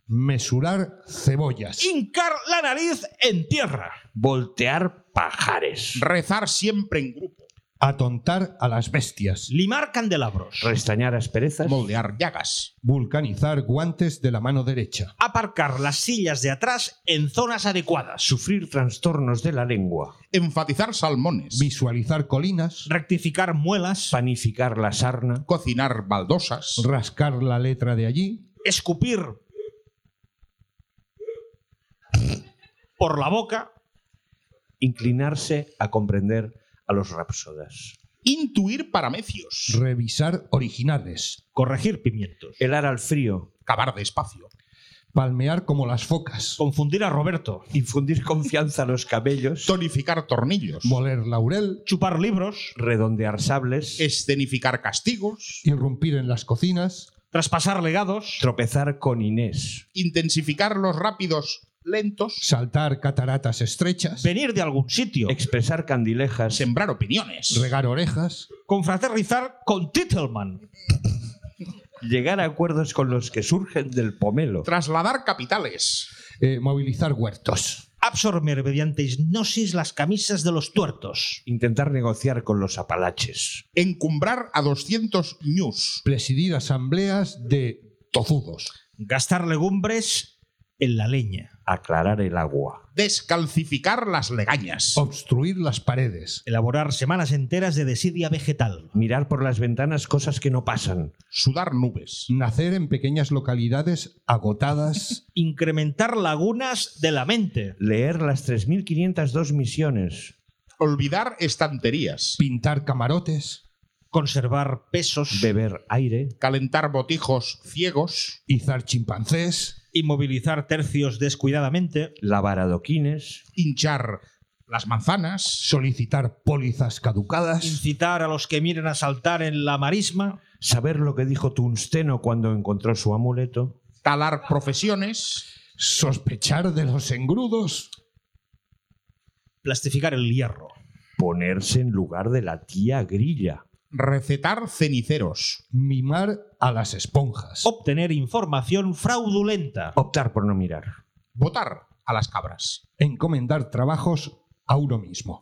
[SPEAKER 11] Mesurar cebollas.
[SPEAKER 6] Hincar la nariz en tierra.
[SPEAKER 5] Voltear pajares.
[SPEAKER 3] Rezar siempre en grupo.
[SPEAKER 11] Atontar a las bestias.
[SPEAKER 6] Limar candelabros.
[SPEAKER 5] Restañar asperezas.
[SPEAKER 3] Moldear llagas.
[SPEAKER 11] Vulcanizar guantes de la mano derecha.
[SPEAKER 6] Aparcar las sillas de atrás en zonas adecuadas.
[SPEAKER 5] Sufrir trastornos de la lengua.
[SPEAKER 3] Enfatizar salmones.
[SPEAKER 11] Visualizar colinas.
[SPEAKER 6] Rectificar muelas.
[SPEAKER 5] Panificar la sarna.
[SPEAKER 3] Cocinar baldosas.
[SPEAKER 11] Rascar la letra de allí.
[SPEAKER 6] Escupir por la boca.
[SPEAKER 5] Inclinarse a comprender a los rapsodas.
[SPEAKER 3] Intuir paramecios.
[SPEAKER 11] Revisar originales.
[SPEAKER 6] Corregir pimientos.
[SPEAKER 5] Helar al frío.
[SPEAKER 3] Cavar despacio.
[SPEAKER 11] Palmear como las focas.
[SPEAKER 6] Confundir a Roberto.
[SPEAKER 5] Infundir confianza a los cabellos.
[SPEAKER 3] Tonificar tornillos.
[SPEAKER 11] Moler laurel.
[SPEAKER 6] Chupar libros.
[SPEAKER 5] Redondear sables.
[SPEAKER 3] Escenificar castigos.
[SPEAKER 11] Irrumpir en las cocinas.
[SPEAKER 6] Traspasar legados.
[SPEAKER 5] Tropezar con Inés.
[SPEAKER 3] Intensificar los rápidos lentos.
[SPEAKER 11] Saltar cataratas estrechas.
[SPEAKER 6] Venir de algún sitio.
[SPEAKER 5] Expresar candilejas.
[SPEAKER 3] Sembrar opiniones.
[SPEAKER 11] Regar orejas.
[SPEAKER 6] Confraternizar con Titelman.
[SPEAKER 5] Llegar a acuerdos con los que surgen del pomelo.
[SPEAKER 3] Trasladar capitales.
[SPEAKER 11] eh, movilizar huertos.
[SPEAKER 6] Absorber mediante hipnosis las camisas de los tuertos.
[SPEAKER 5] Intentar negociar con los apalaches.
[SPEAKER 3] Encumbrar a 200 news.
[SPEAKER 11] Presidir asambleas de tozudos.
[SPEAKER 6] Gastar legumbres en la leña.
[SPEAKER 5] Aclarar el agua.
[SPEAKER 3] Descalcificar las legañas.
[SPEAKER 11] Obstruir las paredes.
[SPEAKER 6] Elaborar semanas enteras de desidia vegetal.
[SPEAKER 5] Mirar por las ventanas cosas que no pasan.
[SPEAKER 3] Sudar nubes.
[SPEAKER 11] Nacer en pequeñas localidades agotadas.
[SPEAKER 6] Incrementar lagunas de la mente.
[SPEAKER 5] Leer las 3.502 misiones.
[SPEAKER 3] Olvidar estanterías.
[SPEAKER 11] pintar camarotes.
[SPEAKER 6] Conservar pesos.
[SPEAKER 5] Beber aire.
[SPEAKER 3] Calentar botijos ciegos.
[SPEAKER 11] Izar chimpancés.
[SPEAKER 6] Inmovilizar tercios descuidadamente.
[SPEAKER 5] Lavar adoquines.
[SPEAKER 3] Hinchar las manzanas.
[SPEAKER 11] Solicitar pólizas caducadas.
[SPEAKER 6] Incitar a los que miren a saltar en la marisma.
[SPEAKER 5] Saber lo que dijo Tunsteno cuando encontró su amuleto.
[SPEAKER 3] Talar profesiones.
[SPEAKER 11] Sospechar de los engrudos.
[SPEAKER 6] Plastificar el hierro.
[SPEAKER 5] Ponerse en lugar de la tía grilla.
[SPEAKER 3] Recetar ceniceros.
[SPEAKER 11] Mimar a las esponjas.
[SPEAKER 6] Obtener información fraudulenta.
[SPEAKER 5] Optar por no mirar.
[SPEAKER 3] Botar a las cabras.
[SPEAKER 11] Encomendar trabajos a uno mismo.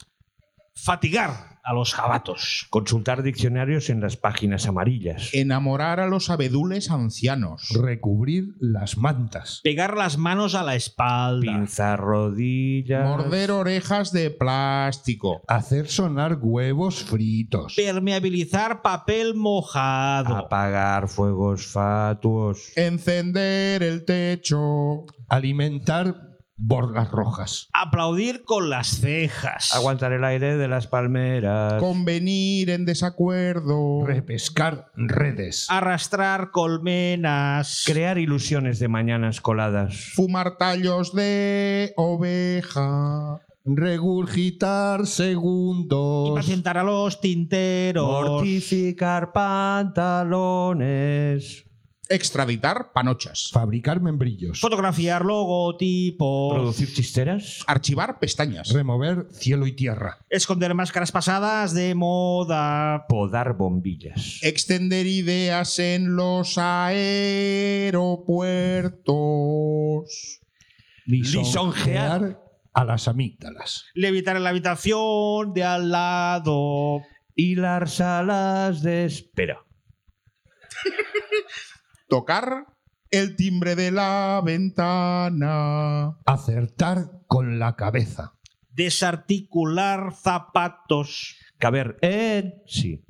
[SPEAKER 6] Fatigar a los jabatos.
[SPEAKER 5] Consultar diccionarios en las páginas amarillas.
[SPEAKER 3] Eh, Enamorar a los abedules ancianos.
[SPEAKER 11] Recubrir las mantas.
[SPEAKER 6] Pegar las manos a la espalda.
[SPEAKER 5] Pinzar rodillas.
[SPEAKER 3] Morder orejas de plástico.
[SPEAKER 11] Hacer sonar huevos fritos.
[SPEAKER 6] Permeabilizar papel mojado.
[SPEAKER 5] Apagar fuegos fatuos.
[SPEAKER 3] Eh, Encender el techo.
[SPEAKER 11] Alimentar borlas rojas.
[SPEAKER 6] Aplaudir con las cejas.
[SPEAKER 5] Aguantar el aire de las palmeras.
[SPEAKER 3] Convenir en desacuerdo.
[SPEAKER 11] Repescar redes.
[SPEAKER 6] Arrastrar colmenas.
[SPEAKER 5] Crear ilusiones de mañanas coladas.
[SPEAKER 3] Fumar tallos de oveja.
[SPEAKER 12] Regurgitar segundos.
[SPEAKER 6] Presentar a los tinteros.
[SPEAKER 5] Mortificar pantalones.
[SPEAKER 3] Extraditar panochas.
[SPEAKER 12] Fabricar membrillos.
[SPEAKER 6] Fotografiar logotipos.
[SPEAKER 5] Producir chisteras.
[SPEAKER 3] Archivar pestañas.
[SPEAKER 12] Remover cielo y tierra.
[SPEAKER 6] Esconder máscaras pasadas de moda.
[SPEAKER 5] Podar bombillas.
[SPEAKER 3] Extender ideas en los aeropuertos.
[SPEAKER 5] Lisonjear.
[SPEAKER 12] a las amígdalas.
[SPEAKER 6] Levitar en la habitación de al lado.
[SPEAKER 5] Hilar salas de espera.
[SPEAKER 3] Tocar el timbre de la ventana.
[SPEAKER 12] Acertar con la cabeza.
[SPEAKER 6] Desarticular zapatos.
[SPEAKER 5] Caber en sí.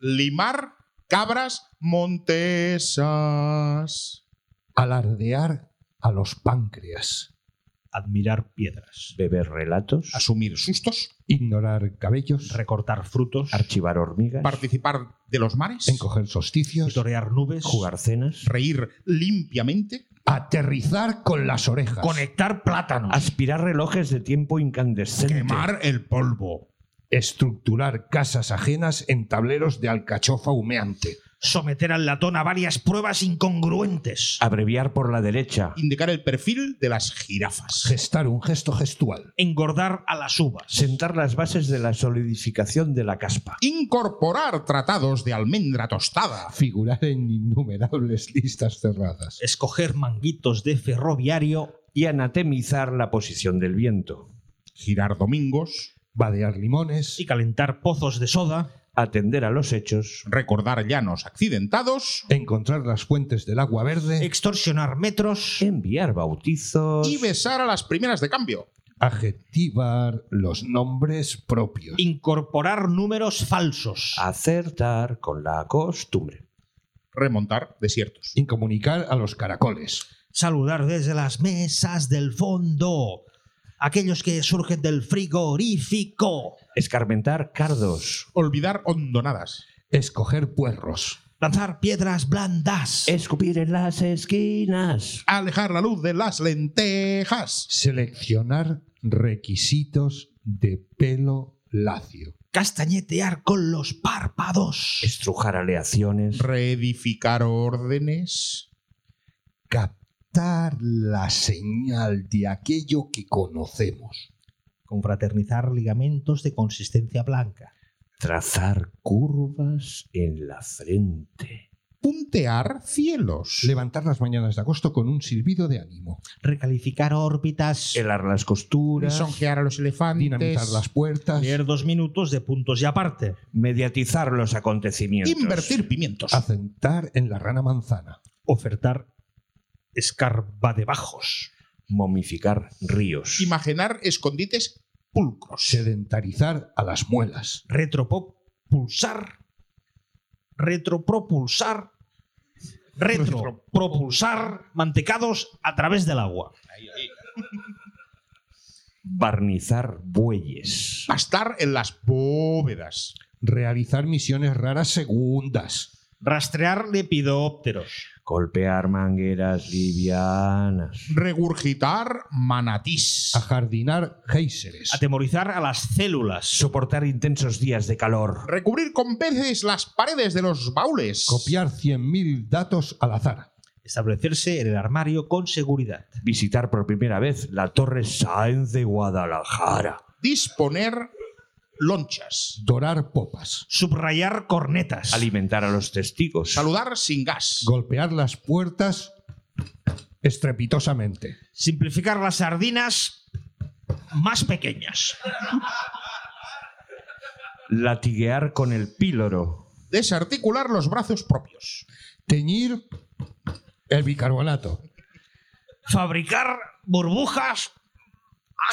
[SPEAKER 3] Limar cabras montesas.
[SPEAKER 12] Alardear a los páncreas.
[SPEAKER 6] Admirar piedras.
[SPEAKER 5] Beber relatos.
[SPEAKER 3] Asumir sustos.
[SPEAKER 12] Ignorar cabellos.
[SPEAKER 6] Recortar frutos.
[SPEAKER 5] Archivar hormigas.
[SPEAKER 3] Participar de los mares.
[SPEAKER 12] Encoger solsticios.
[SPEAKER 6] Torear nubes.
[SPEAKER 5] Jugar cenas.
[SPEAKER 3] Reír limpiamente.
[SPEAKER 12] Aterrizar con las orejas.
[SPEAKER 6] Conectar plátanos.
[SPEAKER 5] Aspirar relojes de tiempo incandescente.
[SPEAKER 3] Quemar el polvo.
[SPEAKER 12] Estructurar casas ajenas en tableros de alcachofa humeante.
[SPEAKER 6] Someter al latón a varias pruebas incongruentes.
[SPEAKER 5] Abreviar por la derecha.
[SPEAKER 3] Indicar el perfil de las jirafas.
[SPEAKER 12] Gestar un gesto gestual.
[SPEAKER 6] Engordar a las uvas.
[SPEAKER 5] Sentar las bases de la solidificación de la caspa.
[SPEAKER 3] Incorporar tratados de almendra tostada.
[SPEAKER 12] Figurar en innumerables listas cerradas.
[SPEAKER 6] Escoger manguitos de ferroviario.
[SPEAKER 5] Y anatemizar la posición del viento.
[SPEAKER 3] Girar domingos.
[SPEAKER 12] Badear limones.
[SPEAKER 6] Y calentar pozos de soda.
[SPEAKER 5] Atender a los hechos.
[SPEAKER 3] Recordar llanos accidentados.
[SPEAKER 12] Encontrar las fuentes del agua verde.
[SPEAKER 6] Extorsionar metros.
[SPEAKER 5] Enviar bautizos.
[SPEAKER 3] Y besar a las primeras de cambio.
[SPEAKER 12] Adjetivar los nombres propios.
[SPEAKER 6] Incorporar números falsos.
[SPEAKER 12] Ah,
[SPEAKER 5] Acertar con la costumbre.
[SPEAKER 3] Remontar desiertos.
[SPEAKER 12] Incomunicar a los caracoles.
[SPEAKER 6] Saludar desde las mesas del fondo. Aquellos que surgen del frigorífico.
[SPEAKER 5] Escarmentar cardos.
[SPEAKER 3] Olvidar hondonadas.
[SPEAKER 12] Escoger puerros.
[SPEAKER 6] Lanzar piedras blandas.
[SPEAKER 5] Escupir en las esquinas.
[SPEAKER 3] Alejar la luz de las lentejas.
[SPEAKER 12] Seleccionar requisitos de pelo lacio.
[SPEAKER 6] Castañetear con los párpados.
[SPEAKER 5] Estrujar aleaciones.
[SPEAKER 3] Reedificar órdenes.
[SPEAKER 12] Captar la señal de aquello que conocemos.
[SPEAKER 6] Confraternizar ligamentos de consistencia blanca.
[SPEAKER 5] Trazar curvas en la frente.
[SPEAKER 3] Puntear cielos.
[SPEAKER 12] Levantar las mañanas de agosto con un silbido de ánimo.
[SPEAKER 6] Recalificar órbitas.
[SPEAKER 5] Helar las costuras.
[SPEAKER 3] Lisonjear a los elefantes.
[SPEAKER 12] Dinamizar las puertas.
[SPEAKER 6] Leer dos minutos de puntos y aparte.
[SPEAKER 5] Mediatizar los acontecimientos.
[SPEAKER 3] Invertir pimientos.
[SPEAKER 12] Acentar en la rana manzana.
[SPEAKER 6] Ofertar escarba de bajos.
[SPEAKER 5] Momificar ríos.
[SPEAKER 3] Imaginar escondites pulcros.
[SPEAKER 12] Sedentarizar a las muelas.
[SPEAKER 6] retropopulsar, retropropulsar, retropropulsar mantecados a través del agua.
[SPEAKER 5] Barnizar bueyes.
[SPEAKER 3] Pastar en las bóvedas.
[SPEAKER 12] Realizar misiones raras segundas.
[SPEAKER 6] Rastrear lepidópteros.
[SPEAKER 5] Golpear mangueras livianas.
[SPEAKER 3] Regurgitar manatís.
[SPEAKER 12] Ajardinar géiseres.
[SPEAKER 6] Atemorizar a las células.
[SPEAKER 5] Soportar intensos días de calor.
[SPEAKER 3] Recubrir con peces las paredes de los baúles.
[SPEAKER 12] Copiar 100.000 datos al azar.
[SPEAKER 6] Establecerse en el armario con seguridad.
[SPEAKER 5] Visitar por primera vez la Torre Sáenz de Guadalajara.
[SPEAKER 3] Disponer lonchas.
[SPEAKER 12] Dorar popas.
[SPEAKER 6] Subrayar cornetas.
[SPEAKER 5] Alimentar a los testigos.
[SPEAKER 3] Saludar sin gas.
[SPEAKER 12] golpear las puertas estrepitosamente,
[SPEAKER 6] Simplificar las sardinas más pequeñas.
[SPEAKER 5] Latiguear con el píloro.
[SPEAKER 3] Desarticular los brazos propios.
[SPEAKER 12] teñir el bicarbonato,
[SPEAKER 6] Fabricar burbujas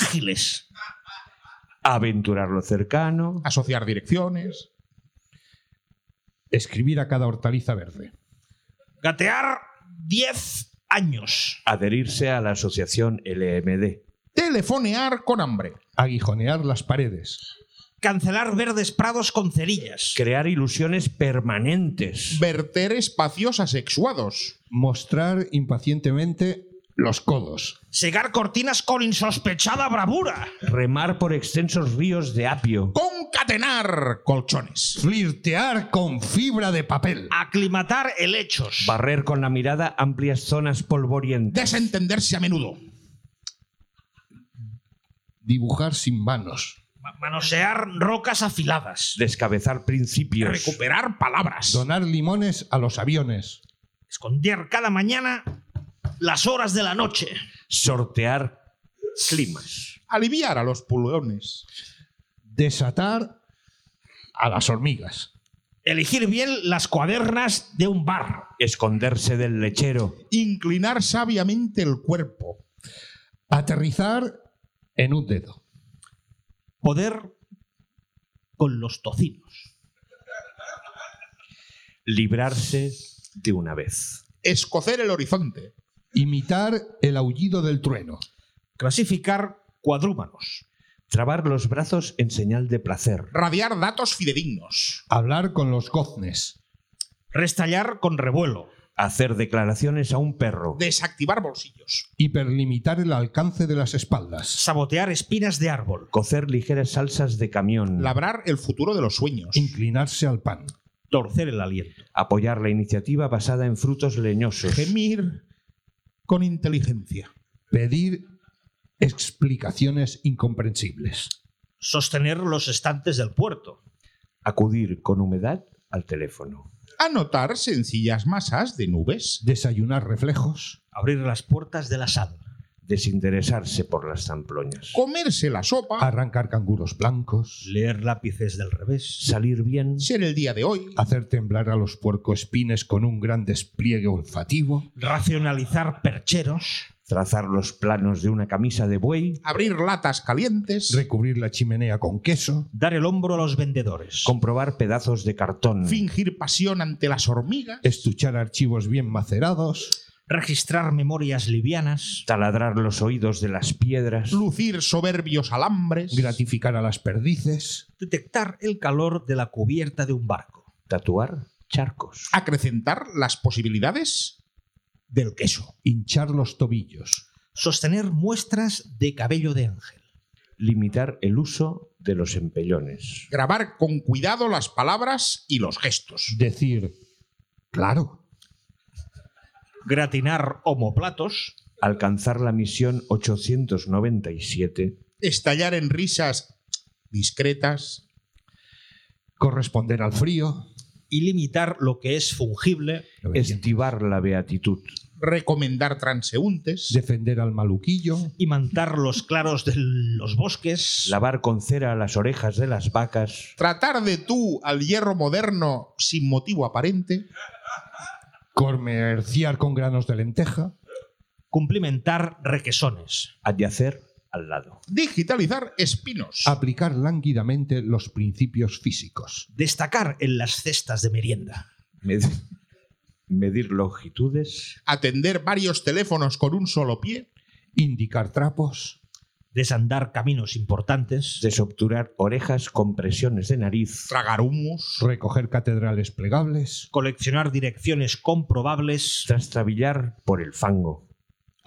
[SPEAKER 6] ágiles.
[SPEAKER 5] Aventurar lo cercano.
[SPEAKER 3] Asociar direcciones.
[SPEAKER 12] escribir a cada hortaliza verde,
[SPEAKER 6] Gatear 10 años.
[SPEAKER 5] Adherirse a la asociación LMD.
[SPEAKER 3] Telefonear con hambre.
[SPEAKER 12] aguijonear las paredes,
[SPEAKER 6] cancelar verdes prados con cerillas,
[SPEAKER 5] Crear ilusiones permanentes.
[SPEAKER 3] Verter espacios asexuados.
[SPEAKER 12] mostrar impacientemente
[SPEAKER 13] Los codos.
[SPEAKER 6] Segar cortinas con insospechada bravura.
[SPEAKER 5] Remar por extensos ríos de apio.
[SPEAKER 3] Concatenar colchones.
[SPEAKER 13] Flirtear con fibra de papel.
[SPEAKER 6] Aclimatar helechos.
[SPEAKER 5] Barrer con la mirada amplias zonas polvorientas.
[SPEAKER 3] Desentenderse a menudo.
[SPEAKER 13] Dibujar sin manos.
[SPEAKER 6] ma- Manosear rocas afiladas.
[SPEAKER 5] Descabezar principios.
[SPEAKER 3] Recuperar palabras.
[SPEAKER 13] Donar limones a los aviones.
[SPEAKER 6] Esconder cada mañana las horas de la noche.
[SPEAKER 5] sortear climas.
[SPEAKER 3] Aliviar a los pulgones.
[SPEAKER 13] Desatar a las hormigas.
[SPEAKER 6] Elegir bien las cuadernas de un bar.
[SPEAKER 5] Esconderse del lechero.
[SPEAKER 3] Inclinar sabiamente el cuerpo.
[SPEAKER 13] Aterrizar en un dedo.
[SPEAKER 6] Poder con los tocinos.
[SPEAKER 5] Librarse de una vez.
[SPEAKER 3] Escocer el horizonte.
[SPEAKER 13] Imitar el aullido del trueno.
[SPEAKER 6] Clasificar cuadrúmanos.
[SPEAKER 5] Trabar los brazos en señal de placer.
[SPEAKER 3] Radiar datos fidedignos.
[SPEAKER 13] Hablar con los goznes.
[SPEAKER 6] Restallar con revuelo.
[SPEAKER 5] Hacer declaraciones a un perro.
[SPEAKER 3] Desactivar bolsillos.
[SPEAKER 13] Hiperlimitar el alcance de las espaldas.
[SPEAKER 6] Sabotear espinas de árbol.
[SPEAKER 5] Cocer ligeras salsas de camión.
[SPEAKER 3] Labrar el futuro de los sueños.
[SPEAKER 13] Inclinarse al pan.
[SPEAKER 6] Torcer el aliento.
[SPEAKER 5] Apoyar la iniciativa basada en frutos leñosos.
[SPEAKER 3] Gemir con inteligencia.
[SPEAKER 13] Pedir explicaciones incomprensibles.
[SPEAKER 6] Sostener los estantes del puerto.
[SPEAKER 5] Acudir con humedad al teléfono.
[SPEAKER 3] Anotar sencillas masas de nubes.
[SPEAKER 13] Desayunar reflejos.
[SPEAKER 6] Abrir las puertas de la sala.
[SPEAKER 5] Desinteresarse por las zamploñas.
[SPEAKER 3] Comerse la sopa.
[SPEAKER 13] Arrancar canguros blancos.
[SPEAKER 6] Leer lápices del revés.
[SPEAKER 5] Salir bien.
[SPEAKER 3] Ser el día de hoy.
[SPEAKER 13] Hacer temblar a los puercoespines con un gran despliegue olfativo.
[SPEAKER 6] Racionalizar percheros.
[SPEAKER 5] Trazar los planos de una camisa de buey.
[SPEAKER 3] Abrir latas calientes.
[SPEAKER 13] Recubrir la chimenea con queso.
[SPEAKER 6] Dar el hombro a los vendedores.
[SPEAKER 5] Comprobar pedazos de cartón.
[SPEAKER 3] Fingir pasión ante las hormigas.
[SPEAKER 13] Estuchar archivos bien macerados.
[SPEAKER 6] Registrar memorias livianas.
[SPEAKER 5] taladrar los oídos de las piedras,
[SPEAKER 3] Lucir soberbios alambres.
[SPEAKER 13] Gratificar a las perdices.
[SPEAKER 6] Detectar el calor de la cubierta de un barco.
[SPEAKER 5] tatuar charcos,
[SPEAKER 3] Acrecentar las posibilidades del queso.
[SPEAKER 13] Hinchar los tobillos.
[SPEAKER 6] Sostener muestras de cabello de ángel.
[SPEAKER 5] limitar el uso de los empellones,
[SPEAKER 3] Grabar con cuidado las palabras y los gestos.
[SPEAKER 13] Decir, claro,
[SPEAKER 6] Gratinar homoplatos.
[SPEAKER 5] alcanzar la misión 897,
[SPEAKER 3] Estallar en risas discretas.
[SPEAKER 13] corresponder al frío.
[SPEAKER 6] Y limitar lo que es fungible.
[SPEAKER 5] estivar la beatitud,
[SPEAKER 3] Recomendar transeúntes.
[SPEAKER 13] Defender al maluquillo.
[SPEAKER 6] Imantar los claros de los bosques.
[SPEAKER 5] lavar con cera las orejas de las vacas,
[SPEAKER 3] Tratar de tú al hierro moderno sin motivo aparente.
[SPEAKER 13] Comerciar con granos de lenteja.
[SPEAKER 6] Cumplimentar requesones.
[SPEAKER 5] adyacer al lado,
[SPEAKER 3] Digitalizar espinos.
[SPEAKER 13] Aplicar lánguidamente los principios físicos.
[SPEAKER 6] Destacar en las cestas de merienda.
[SPEAKER 5] med- medir longitudes,
[SPEAKER 3] Atender varios teléfonos con un solo pie.
[SPEAKER 13] Indicar trapos.
[SPEAKER 6] Desandar caminos importantes.
[SPEAKER 5] desobturar orejas con presiones de nariz,
[SPEAKER 3] Tragar humus.
[SPEAKER 13] Recoger catedrales plegables.
[SPEAKER 6] coleccionar direcciones comprobables,
[SPEAKER 5] trastrabillar por el fango,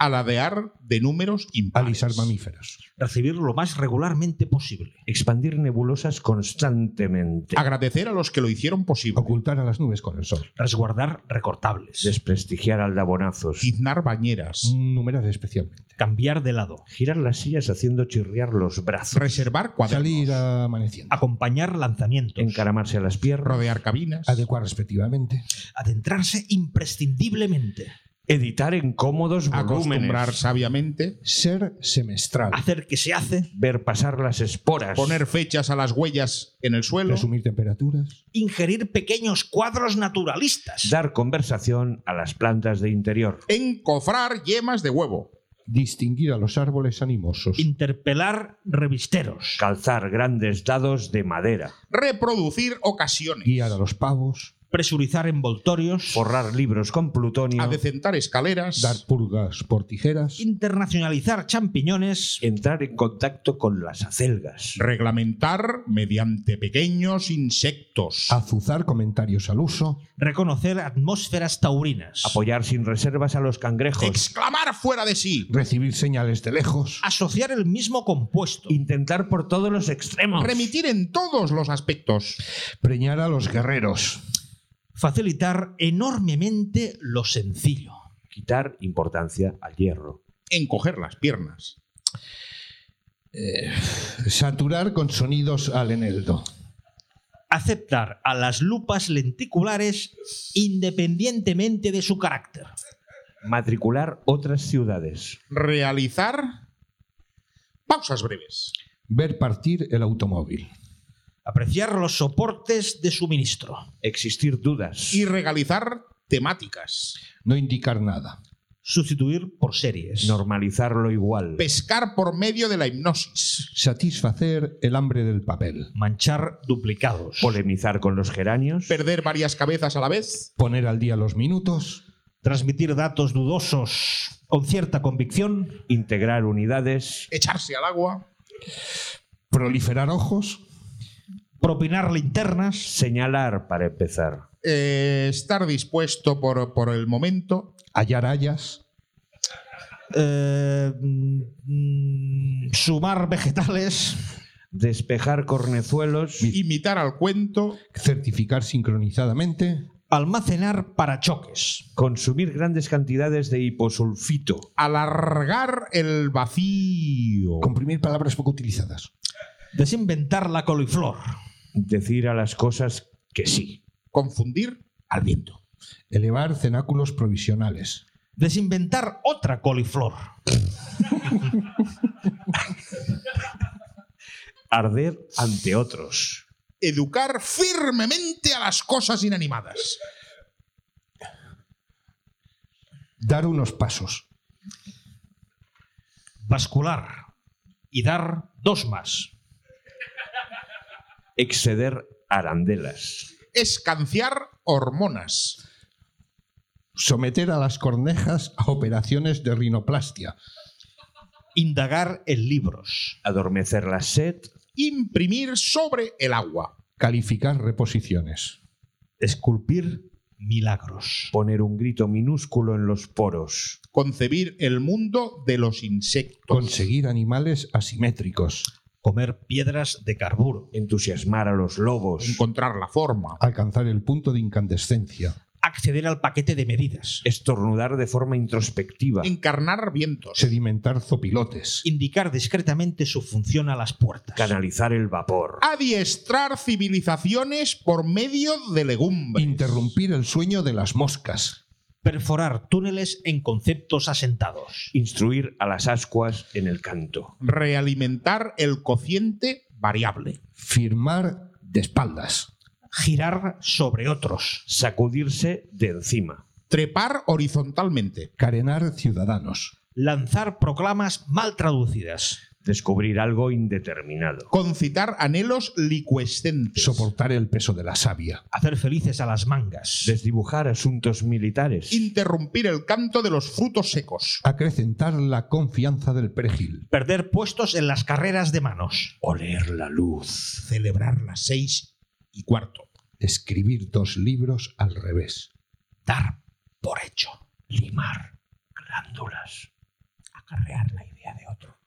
[SPEAKER 3] Aladear de números impares.
[SPEAKER 13] Alisar mamíferos.
[SPEAKER 6] recibir lo más regularmente posible,
[SPEAKER 5] expandir nebulosas constantemente.
[SPEAKER 3] Agradecer a los que lo hicieron posible.
[SPEAKER 13] Ocultar a las nubes con el sol.
[SPEAKER 6] resguardar recortables,
[SPEAKER 5] desprestigiar aldabonazos,
[SPEAKER 3] Tiznar bañeras.
[SPEAKER 13] Numerar especialmente.
[SPEAKER 6] cambiar de lado,
[SPEAKER 5] girar las sillas haciendo chirriar los brazos,
[SPEAKER 3] Reservar cuadernos.
[SPEAKER 13] Salir amaneciendo.
[SPEAKER 6] acompañar lanzamientos,
[SPEAKER 5] encaramarse a las piernas,
[SPEAKER 3] Rodear cabinas.
[SPEAKER 13] Adecuar respectivamente.
[SPEAKER 6] adentrarse imprescindiblemente,
[SPEAKER 5] editar en cómodos
[SPEAKER 3] Acostumbrar
[SPEAKER 5] volúmenes,
[SPEAKER 3] sabiamente.
[SPEAKER 13] Ser semestral.
[SPEAKER 6] hacer que se hace,
[SPEAKER 5] ver pasar las esporas,
[SPEAKER 3] Poner fechas a las huellas en el suelo.
[SPEAKER 13] Resumir temperaturas.
[SPEAKER 6] ingerir pequeños cuadros naturalistas,
[SPEAKER 5] dar conversación a las plantas de interior,
[SPEAKER 3] Encofrar yemas de huevo.
[SPEAKER 13] Distinguir a los árboles animosos.
[SPEAKER 6] interpelar revisteros,
[SPEAKER 5] calzar grandes dados de madera,
[SPEAKER 3] Reproducir ocasiones.
[SPEAKER 13] Guiar a los pavos.
[SPEAKER 6] presurizar envoltorios,
[SPEAKER 5] forrar libros con plutonio,
[SPEAKER 3] adecentar escaleras,
[SPEAKER 14] dar purgas por tijeras,
[SPEAKER 6] internacionalizar champiñones,
[SPEAKER 5] entrar en contacto con las acelgas,
[SPEAKER 3] reglamentar mediante pequeños insectos,
[SPEAKER 14] azuzar comentarios al uso,
[SPEAKER 6] reconocer atmósferas taurinas,
[SPEAKER 5] apoyar sin reservas a los cangrejos,
[SPEAKER 3] exclamar fuera de sí,
[SPEAKER 14] recibir señales de lejos,
[SPEAKER 6] asociar el mismo compuesto,
[SPEAKER 5] intentar por todos los extremos,
[SPEAKER 3] remitir en todos los aspectos,
[SPEAKER 14] preñar a los guerreros,
[SPEAKER 6] facilitar enormemente lo sencillo.
[SPEAKER 5] quitar importancia al hierro,
[SPEAKER 3] encoger las piernas,
[SPEAKER 14] Eh, saturar con sonidos al eneldo,
[SPEAKER 6] aceptar a las lupas lenticulares independientemente de su carácter,
[SPEAKER 5] matricular otras ciudades,
[SPEAKER 3] realizar pausas breves,
[SPEAKER 14] ver partir el automóvil,
[SPEAKER 6] apreciar los soportes de suministro,
[SPEAKER 5] existir dudas,
[SPEAKER 3] y regalizar temáticas,
[SPEAKER 14] no indicar nada,
[SPEAKER 6] sustituir por series,
[SPEAKER 5] normalizar lo igual,
[SPEAKER 3] pescar por medio de la hipnosis,
[SPEAKER 14] satisfacer el hambre del papel,
[SPEAKER 6] manchar duplicados,
[SPEAKER 5] polemizar con los geranios,
[SPEAKER 3] perder varias cabezas a la vez,
[SPEAKER 14] poner al día los minutos,
[SPEAKER 6] transmitir datos dudosos con cierta convicción,
[SPEAKER 5] integrar unidades,
[SPEAKER 3] echarse al agua,
[SPEAKER 14] proliferar ojos,
[SPEAKER 6] propinar linternas,
[SPEAKER 5] señalar para empezar,
[SPEAKER 3] eh, estar dispuesto por, por el momento,
[SPEAKER 14] hallar hayas,
[SPEAKER 6] eh, mm, sumar vegetales,
[SPEAKER 5] despejar cornezuelos,
[SPEAKER 3] imitar al cuento,
[SPEAKER 14] certificar sincronizadamente,
[SPEAKER 6] almacenar parachoques,
[SPEAKER 5] consumir grandes cantidades de hiposulfito,
[SPEAKER 3] alargar el vacío,
[SPEAKER 14] comprimir palabras poco utilizadas,
[SPEAKER 6] desinventar la coliflor,
[SPEAKER 5] decir a las cosas que sí,
[SPEAKER 3] confundir al viento,
[SPEAKER 14] elevar cenáculos provisionales,
[SPEAKER 6] desinventar otra coliflor,
[SPEAKER 5] arder ante otros,
[SPEAKER 3] educar firmemente a las cosas inanimadas,
[SPEAKER 14] dar unos pasos,
[SPEAKER 6] bascular y dar dos más,
[SPEAKER 5] exceder arandelas,
[SPEAKER 3] escanciar hormonas,
[SPEAKER 14] someter a las cornejas a operaciones de rinoplastia,
[SPEAKER 6] indagar en libros,
[SPEAKER 5] adormecer la sed,
[SPEAKER 3] imprimir sobre el agua,
[SPEAKER 14] calificar reposiciones,
[SPEAKER 6] esculpir milagros,
[SPEAKER 5] poner un grito minúsculo en los poros,
[SPEAKER 3] concebir el mundo de los insectos,
[SPEAKER 14] conseguir animales asimétricos,
[SPEAKER 6] comer piedras de carburo,
[SPEAKER 5] entusiasmar a los lobos,
[SPEAKER 3] encontrar la forma,
[SPEAKER 14] alcanzar el punto de incandescencia,
[SPEAKER 6] acceder al paquete de medidas,
[SPEAKER 5] estornudar de forma introspectiva,
[SPEAKER 3] encarnar vientos,
[SPEAKER 14] sedimentar zopilotes,
[SPEAKER 6] indicar discretamente su función a las puertas,
[SPEAKER 5] canalizar el vapor,
[SPEAKER 3] adiestrar civilizaciones por medio de legumbres,
[SPEAKER 14] interrumpir el sueño de las moscas,
[SPEAKER 6] perforar túneles en conceptos asentados,
[SPEAKER 5] instruir a las ascuas en el canto,
[SPEAKER 3] realimentar el cociente variable,
[SPEAKER 14] firmar de espaldas,
[SPEAKER 6] girar sobre otros,
[SPEAKER 5] sacudirse de encima,
[SPEAKER 3] trepar horizontalmente,
[SPEAKER 14] carenar ciudadanos,
[SPEAKER 6] lanzar proclamas mal traducidas,
[SPEAKER 5] descubrir algo indeterminado,
[SPEAKER 3] concitar anhelos licuescentes,
[SPEAKER 14] soportar el peso de la savia,
[SPEAKER 6] hacer felices a las mangas,
[SPEAKER 5] desdibujar asuntos militares,
[SPEAKER 3] interrumpir el canto de los frutos secos,
[SPEAKER 14] acrecentar la confianza del perejil,
[SPEAKER 6] perder puestos en las carreras de manos,
[SPEAKER 5] oler la luz,
[SPEAKER 3] celebrar las seis y cuarto.
[SPEAKER 14] escribir dos libros al revés,
[SPEAKER 6] dar por hecho,
[SPEAKER 5] limar glándulas,
[SPEAKER 6] acarrear la idea de otro,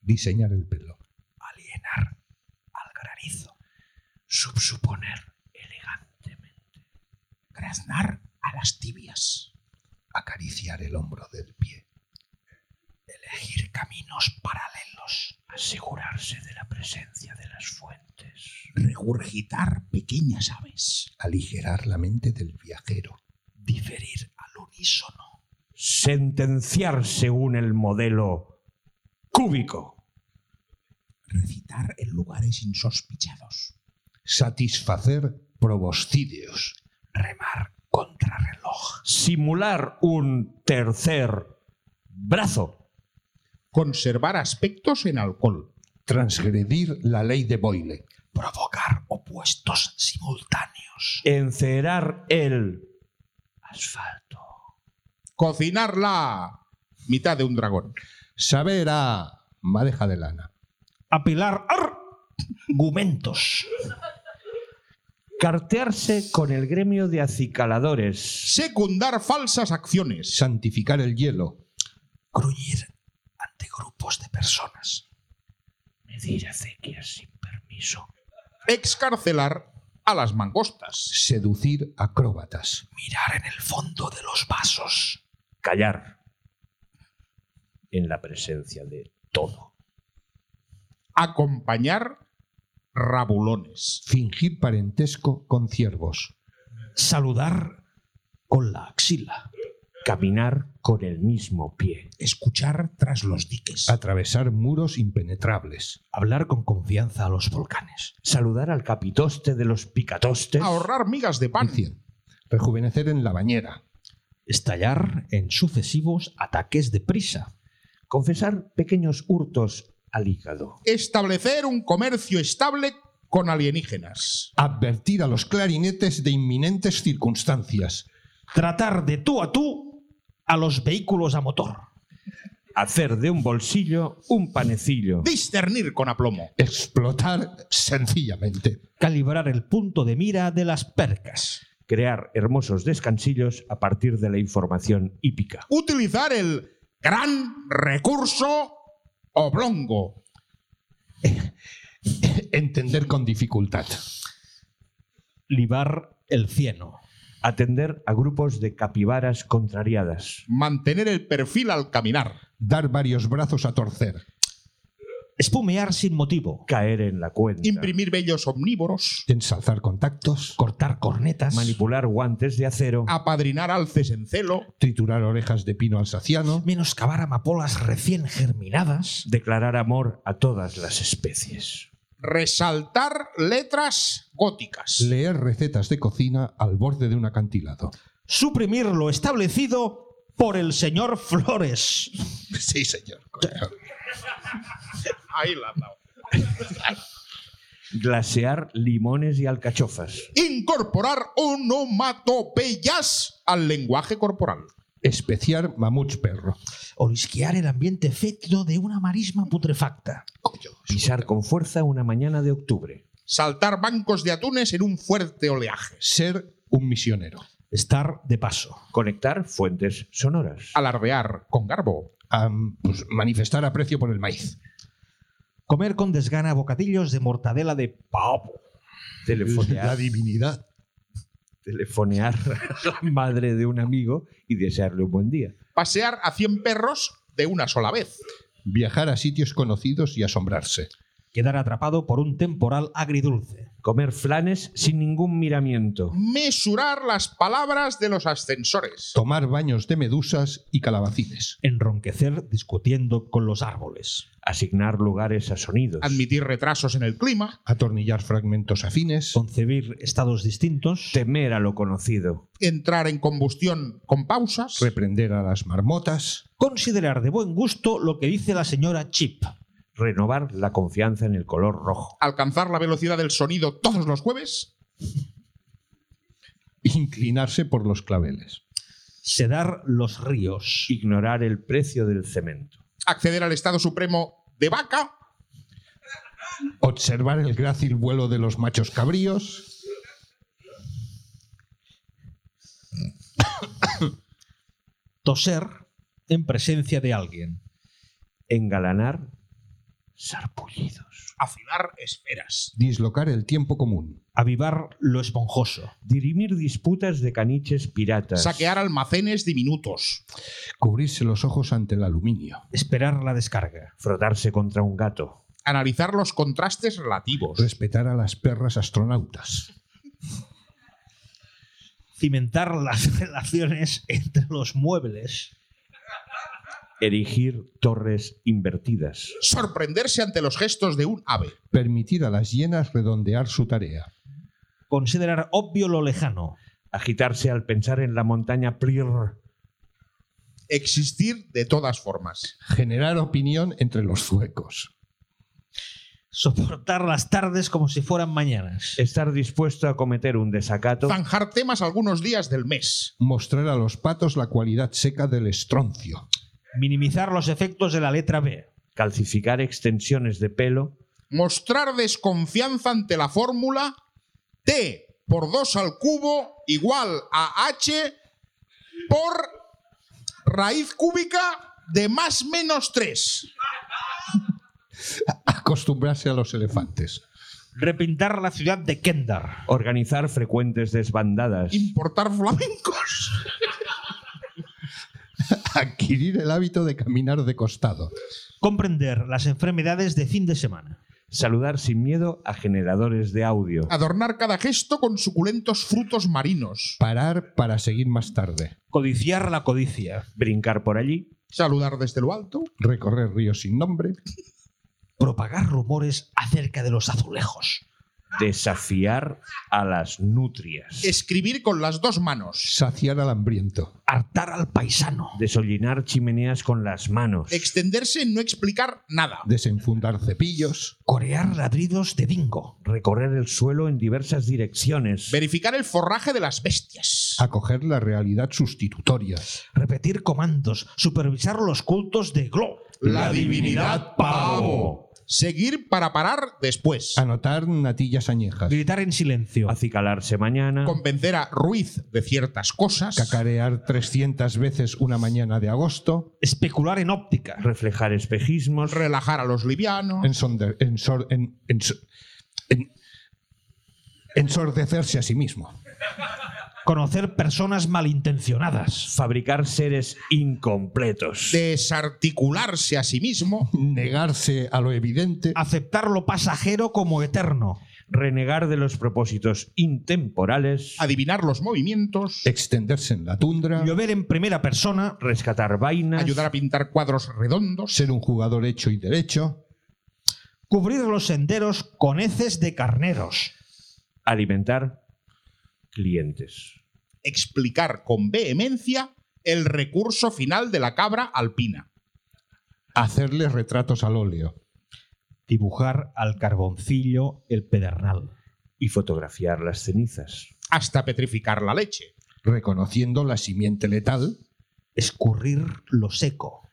[SPEAKER 14] diseñar el pelo,
[SPEAKER 6] alienar al granizo,
[SPEAKER 5] subsuponer elegantemente,
[SPEAKER 6] graznar a las tibias,
[SPEAKER 14] acariciar el hombro del pie,
[SPEAKER 6] elegir caminos paralelos,
[SPEAKER 5] asegurarse de la presencia de las fuentes,
[SPEAKER 3] regurgitar pequeñas aves,
[SPEAKER 14] aligerar la mente del viajero,
[SPEAKER 6] diferir al unísono,
[SPEAKER 5] sentenciar según el modelo cúbico,
[SPEAKER 3] recitar en lugares insospechados,
[SPEAKER 14] satisfacer proboscideos,
[SPEAKER 6] remar contra reloj,
[SPEAKER 5] simular un tercer brazo,
[SPEAKER 3] conservar aspectos en alcohol,
[SPEAKER 14] transgredir la ley de Boyle,
[SPEAKER 6] provocar opulencia, puestos simultáneos.
[SPEAKER 5] Encerar el asfalto.
[SPEAKER 3] Cocinarla. Mitad de un dragón.
[SPEAKER 8] Saber a madeja de lana.
[SPEAKER 6] Apilar argumentos.
[SPEAKER 5] Cartearse con el gremio de acicaladores.
[SPEAKER 3] Secundar falsas acciones.
[SPEAKER 8] Santificar el hielo.
[SPEAKER 6] Gruñir ante grupos de personas.
[SPEAKER 5] Medir acequias sin permiso.
[SPEAKER 3] Excarcelar a las mangostas.
[SPEAKER 8] Seducir acróbatas.
[SPEAKER 6] Mirar en el fondo de los vasos.
[SPEAKER 5] Callar. En la presencia de todo.
[SPEAKER 3] Acompañar rabulones.
[SPEAKER 8] Fingir parentesco con ciervos.
[SPEAKER 6] Saludar con la axila.
[SPEAKER 5] Caminar con el mismo pie.
[SPEAKER 6] Escuchar tras los diques.
[SPEAKER 8] Atravesar muros impenetrables.
[SPEAKER 6] Hablar con confianza a los volcanes.
[SPEAKER 5] Saludar al capitoste de los picatostes.
[SPEAKER 3] Ahorrar migas de pan.
[SPEAKER 8] Rejuvenecer en la bañera.
[SPEAKER 6] Estallar en sucesivos ataques de prisa.
[SPEAKER 5] Confesar pequeños hurtos al hígado.
[SPEAKER 3] Establecer un comercio estable con alienígenas.
[SPEAKER 8] Advertir a los clarinetes de inminentes circunstancias.
[SPEAKER 6] Tratar de tú a tú a los vehículos a motor.
[SPEAKER 5] Hacer de un bolsillo un panecillo.
[SPEAKER 3] Discernir con aplomo.
[SPEAKER 8] Explotar sencillamente.
[SPEAKER 6] Calibrar el punto de mira de las percas.
[SPEAKER 5] Crear hermosos descansillos a partir de la información hípica.
[SPEAKER 3] Utilizar el gran recurso oblongo.
[SPEAKER 8] Entender con dificultad.
[SPEAKER 6] Libar el cieno.
[SPEAKER 5] Atender a grupos de capibaras contrariadas.
[SPEAKER 3] Mantener el perfil al caminar.
[SPEAKER 8] Dar varios brazos a torcer.
[SPEAKER 6] Espumear sin motivo.
[SPEAKER 5] Caer en la cuenta.
[SPEAKER 3] Imprimir bellos omnívoros.
[SPEAKER 8] Ensalzar contactos.
[SPEAKER 6] Cortar cornetas.
[SPEAKER 5] Manipular guantes de acero.
[SPEAKER 3] Ah. Apadrinar alces en celo.
[SPEAKER 8] Triturar orejas de pino alsaciano.
[SPEAKER 6] menoscabar amapolas recién germinadas.
[SPEAKER 5] Declarar amor a todas las especies.
[SPEAKER 3] Resaltar letras góticas.
[SPEAKER 8] Leer recetas de cocina al borde de un acantilado.
[SPEAKER 6] Suprimir lo establecido por el señor Flores.
[SPEAKER 8] Sí, señor.
[SPEAKER 3] Ahí la han dado.
[SPEAKER 5] Glasear limones y alcachofas.
[SPEAKER 3] Incorporar onomatopeyas al lenguaje corporal.
[SPEAKER 8] Especiar mamuts perro.
[SPEAKER 6] Olisquear el ambiente fétido de una marisma putrefacta.
[SPEAKER 5] Pisar con fuerza una mañana de octubre.
[SPEAKER 3] Saltar bancos de atunes en un fuerte oleaje.
[SPEAKER 8] Ser un misionero.
[SPEAKER 6] Estar de paso.
[SPEAKER 5] Conectar fuentes sonoras.
[SPEAKER 3] Ah. Alardear con garbo.
[SPEAKER 8] Am, pues, manifestar aprecio por el maíz.
[SPEAKER 6] Comer con desgana bocadillos de mortadela de pavo.
[SPEAKER 8] La
[SPEAKER 5] Telefonear,
[SPEAKER 8] divinidad.
[SPEAKER 5] telefonear a la madre de un amigo y desearle un buen día.
[SPEAKER 3] Pasear a 100 perros de una sola vez.
[SPEAKER 8] Viajar a sitios conocidos y asombrarse.
[SPEAKER 6] Quedar atrapado por un temporal agridulce.
[SPEAKER 5] Comer flanes sin ningún miramiento.
[SPEAKER 3] Mesurar las palabras de los ascensores.
[SPEAKER 8] Tomar baños de medusas y calabacines.
[SPEAKER 6] Enronquecer discutiendo con los árboles.
[SPEAKER 5] Asignar lugares a sonidos.
[SPEAKER 3] Admitir retrasos en el clima.
[SPEAKER 8] Atornillar fragmentos afines.
[SPEAKER 6] Concebir estados distintos.
[SPEAKER 5] Temer a lo conocido.
[SPEAKER 3] Entrar en combustión con pausas.
[SPEAKER 8] Reprender a las marmotas.
[SPEAKER 6] Considerar de buen gusto lo que dice la señora Chip.
[SPEAKER 5] Renovar la confianza en el color rojo.
[SPEAKER 3] Alcanzar la velocidad del sonido todos los jueves.
[SPEAKER 8] Inclinarse por los claveles.
[SPEAKER 6] Sedar los ríos.
[SPEAKER 5] Ignorar el precio del cemento.
[SPEAKER 3] Acceder al estado supremo de vaca.
[SPEAKER 8] Observar el grácil vuelo de los machos cabríos.
[SPEAKER 6] toser en presencia de alguien.
[SPEAKER 5] Engalanar sarpullidos.
[SPEAKER 3] Afilar esferas.
[SPEAKER 8] Dislocar el tiempo común.
[SPEAKER 6] Avivar lo esponjoso.
[SPEAKER 5] Dirimir disputas de caniches piratas.
[SPEAKER 3] Saquear almacenes diminutos.
[SPEAKER 8] Cubrirse los ojos ante el aluminio.
[SPEAKER 6] Esperar la descarga.
[SPEAKER 5] Frotarse contra un gato.
[SPEAKER 3] Analizar los contrastes relativos.
[SPEAKER 8] Respetar a las perras astronautas.
[SPEAKER 6] Cimentar las relaciones entre los muebles.
[SPEAKER 5] Erigir torres invertidas.
[SPEAKER 3] Sorprenderse ante los gestos de un ave.
[SPEAKER 8] Permitir a las hienas redondear su tarea.
[SPEAKER 6] Considerar obvio lo lejano.
[SPEAKER 5] Agitarse al pensar en la montaña Plir.
[SPEAKER 3] Existir de todas formas.
[SPEAKER 8] Generar opinión entre los suecos.
[SPEAKER 6] Soportar las tardes como si fueran mañanas.
[SPEAKER 5] Estar dispuesto a cometer un desacato.
[SPEAKER 3] Zanjar temas algunos días del mes.
[SPEAKER 15] Mostrar a los patos la cualidad seca del estroncio.
[SPEAKER 6] Minimizar los efectos de la letra B.
[SPEAKER 5] Calcificar extensiones de pelo.
[SPEAKER 3] Mostrar desconfianza ante la fórmula T por 2 al cubo igual a H por raíz cúbica de más menos 3.
[SPEAKER 15] Acostumbrarse a los elefantes.
[SPEAKER 6] Repintar la ciudad de Kendar.
[SPEAKER 5] Organizar frecuentes desbandadas.
[SPEAKER 3] Importar flamencos.
[SPEAKER 15] Adquirir el hábito de caminar de costado.
[SPEAKER 6] Comprender las enfermedades de fin de semana.
[SPEAKER 5] Saludar sin miedo a generadores de audio.
[SPEAKER 3] Adornar cada gesto con suculentos frutos marinos.
[SPEAKER 15] Parar para seguir más tarde.
[SPEAKER 6] Codiciar la codicia.
[SPEAKER 5] Brincar por allí.
[SPEAKER 3] Saludar desde lo alto.
[SPEAKER 15] Recorrer ríos sin nombre.
[SPEAKER 6] Propagar rumores acerca de los azulejos.
[SPEAKER 5] Desafiar a las nutrias.
[SPEAKER 3] Escribir con las dos manos.
[SPEAKER 15] Saciar al hambriento.
[SPEAKER 6] Hartar al paisano.
[SPEAKER 5] Desollinar chimeneas con las manos.
[SPEAKER 3] Extenderse en no explicar nada.
[SPEAKER 15] Desenfundar cepillos.
[SPEAKER 6] Corear ladridos de bingo.
[SPEAKER 5] Recorrer el suelo en diversas direcciones.
[SPEAKER 3] Verificar el forraje de las bestias.
[SPEAKER 15] Acoger la realidad sustitutoria.
[SPEAKER 6] Repetir comandos. Supervisar los cultos de Glo.
[SPEAKER 3] La divinidad pavo. Seguir para parar después.
[SPEAKER 15] Anotar natillas añejas.
[SPEAKER 6] Gritar en silencio.
[SPEAKER 5] Acicalarse mañana.
[SPEAKER 3] Convencer a Ruiz de ciertas cosas.
[SPEAKER 15] Cacarear 300 veces una mañana de agosto.
[SPEAKER 6] Especular en óptica.
[SPEAKER 5] Reflejar espejismos.
[SPEAKER 3] Relajar a los livianos.
[SPEAKER 15] ensonder- ensor- en- ens- en- ensordecerse a sí mismo.
[SPEAKER 6] Conocer personas malintencionadas.
[SPEAKER 5] fabricar seres incompletos.
[SPEAKER 3] Desarticularse a sí mismo.
[SPEAKER 15] Negarse a lo evidente.
[SPEAKER 6] Aceptar lo pasajero como eterno.
[SPEAKER 5] Renegar de los propósitos intemporales.
[SPEAKER 3] Adivinar los movimientos.
[SPEAKER 15] Extenderse en la tundra.
[SPEAKER 6] Llover en primera persona.
[SPEAKER 5] Rescatar vainas.
[SPEAKER 3] Ayudar a pintar cuadros redondos.
[SPEAKER 15] Ser un jugador hecho y derecho.
[SPEAKER 6] Cubrir los senderos con heces de carneros.
[SPEAKER 5] Alimentar clientes.
[SPEAKER 3] Explicar con vehemencia el recurso final de la cabra alpina.
[SPEAKER 15] Hacerle retratos al óleo.
[SPEAKER 6] Dibujar al carboncillo el pedernal.
[SPEAKER 5] Y fotografiar las cenizas.
[SPEAKER 3] Hasta petrificar la leche.
[SPEAKER 15] Reconociendo la simiente letal.
[SPEAKER 6] Escurrir lo seco.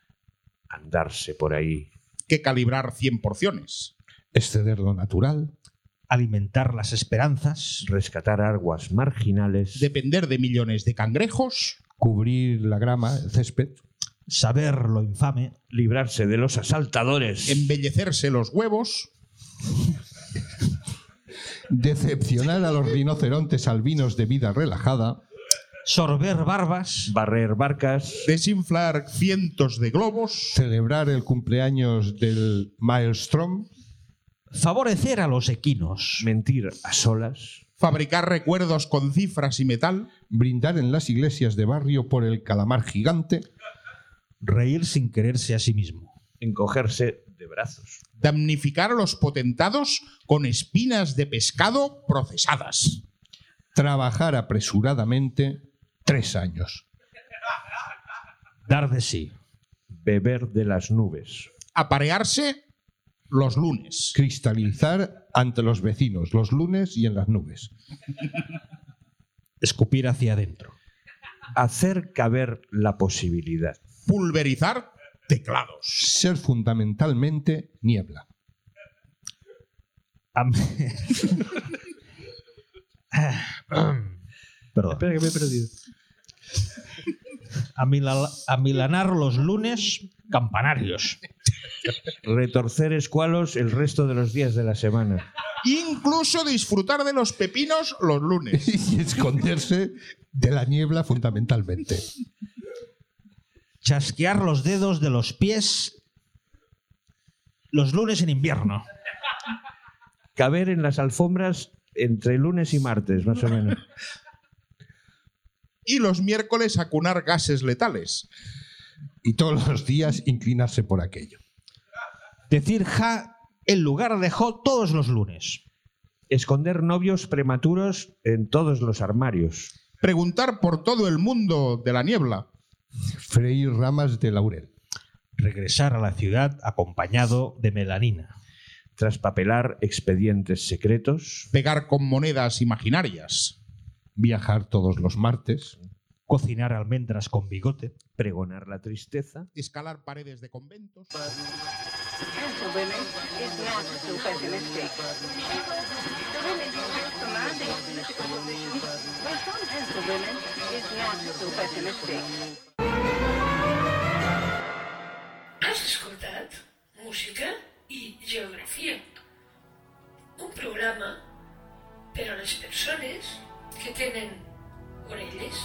[SPEAKER 5] Andarse por ahí.
[SPEAKER 3] Que calibrar 100 porciones.
[SPEAKER 15] Exceder lo natural.
[SPEAKER 6] Alimentar las esperanzas.
[SPEAKER 5] Rescatar aguas marginales.
[SPEAKER 3] Depender de millones de cangrejos.
[SPEAKER 15] Cubrir la grama, el césped.
[SPEAKER 6] Saber lo infame.
[SPEAKER 5] librarse de los asaltadores.
[SPEAKER 3] Embellecerse los huevos.
[SPEAKER 15] Decepcionar a los rinocerontes albinos de vida relajada.
[SPEAKER 6] Sorber barbas.
[SPEAKER 5] barrer barcas.
[SPEAKER 3] Desinflar cientos de globos.
[SPEAKER 15] Celebrar el cumpleaños del Maelstrom.
[SPEAKER 6] Favorecer a los equinos.
[SPEAKER 5] mentir a solas.
[SPEAKER 3] Fabricar recuerdos con cifras y metal.
[SPEAKER 15] Brindar en las iglesias de barrio por el calamar gigante.
[SPEAKER 6] Reír sin quererse a sí mismo.
[SPEAKER 5] Encogerse de brazos.
[SPEAKER 3] damnificar a los potentados con espinas de pescado procesadas,
[SPEAKER 15] Trabajar apresuradamente. Tres años.
[SPEAKER 6] Dar de sí.
[SPEAKER 5] Beber de las nubes.
[SPEAKER 3] aparearse los lunes,
[SPEAKER 15] Cristalizar ante los vecinos los lunes y en las nubes.
[SPEAKER 6] Escupir hacia adentro.
[SPEAKER 5] Hacer caber la posibilidad.
[SPEAKER 3] pulverizar teclados,
[SPEAKER 15] Ser fundamentalmente niebla.
[SPEAKER 6] Am- Perdón.
[SPEAKER 5] que me he perdido.
[SPEAKER 6] Amilal- Amilanar los lunes campanarios.
[SPEAKER 5] Retorcer escualos el resto de los días de la semana.
[SPEAKER 3] incluso disfrutar de los pepinos los lunes,
[SPEAKER 15] y esconderse de la niebla fundamentalmente.
[SPEAKER 6] Chasquear los dedos de los pies los lunes en invierno.
[SPEAKER 5] Caber en las alfombras entre lunes y martes, más o menos.
[SPEAKER 3] y los miércoles acunar gases letales,
[SPEAKER 15] Y todos los días inclinarse por aquello.
[SPEAKER 6] Decir ja en lugar de jo todos los lunes.
[SPEAKER 5] Esconder novios prematuros
[SPEAKER 6] eh,
[SPEAKER 5] en todos los armarios.
[SPEAKER 3] preguntar por todo el mundo de la niebla,
[SPEAKER 15] Freír ramas de laurel.
[SPEAKER 6] Regresar a la ciudad acompañado de melanina.
[SPEAKER 5] traspapelar expedientes secretos,
[SPEAKER 6] Pegar con monedas imaginarias.
[SPEAKER 16] Viajar todos los martes.
[SPEAKER 17] Cocinar almendras con bigote.
[SPEAKER 5] pregonar la tristeza,
[SPEAKER 6] Escalar paredes de conventos.
[SPEAKER 18] Has escoltat música i geografia. Un programa per a les persones que tenen orelles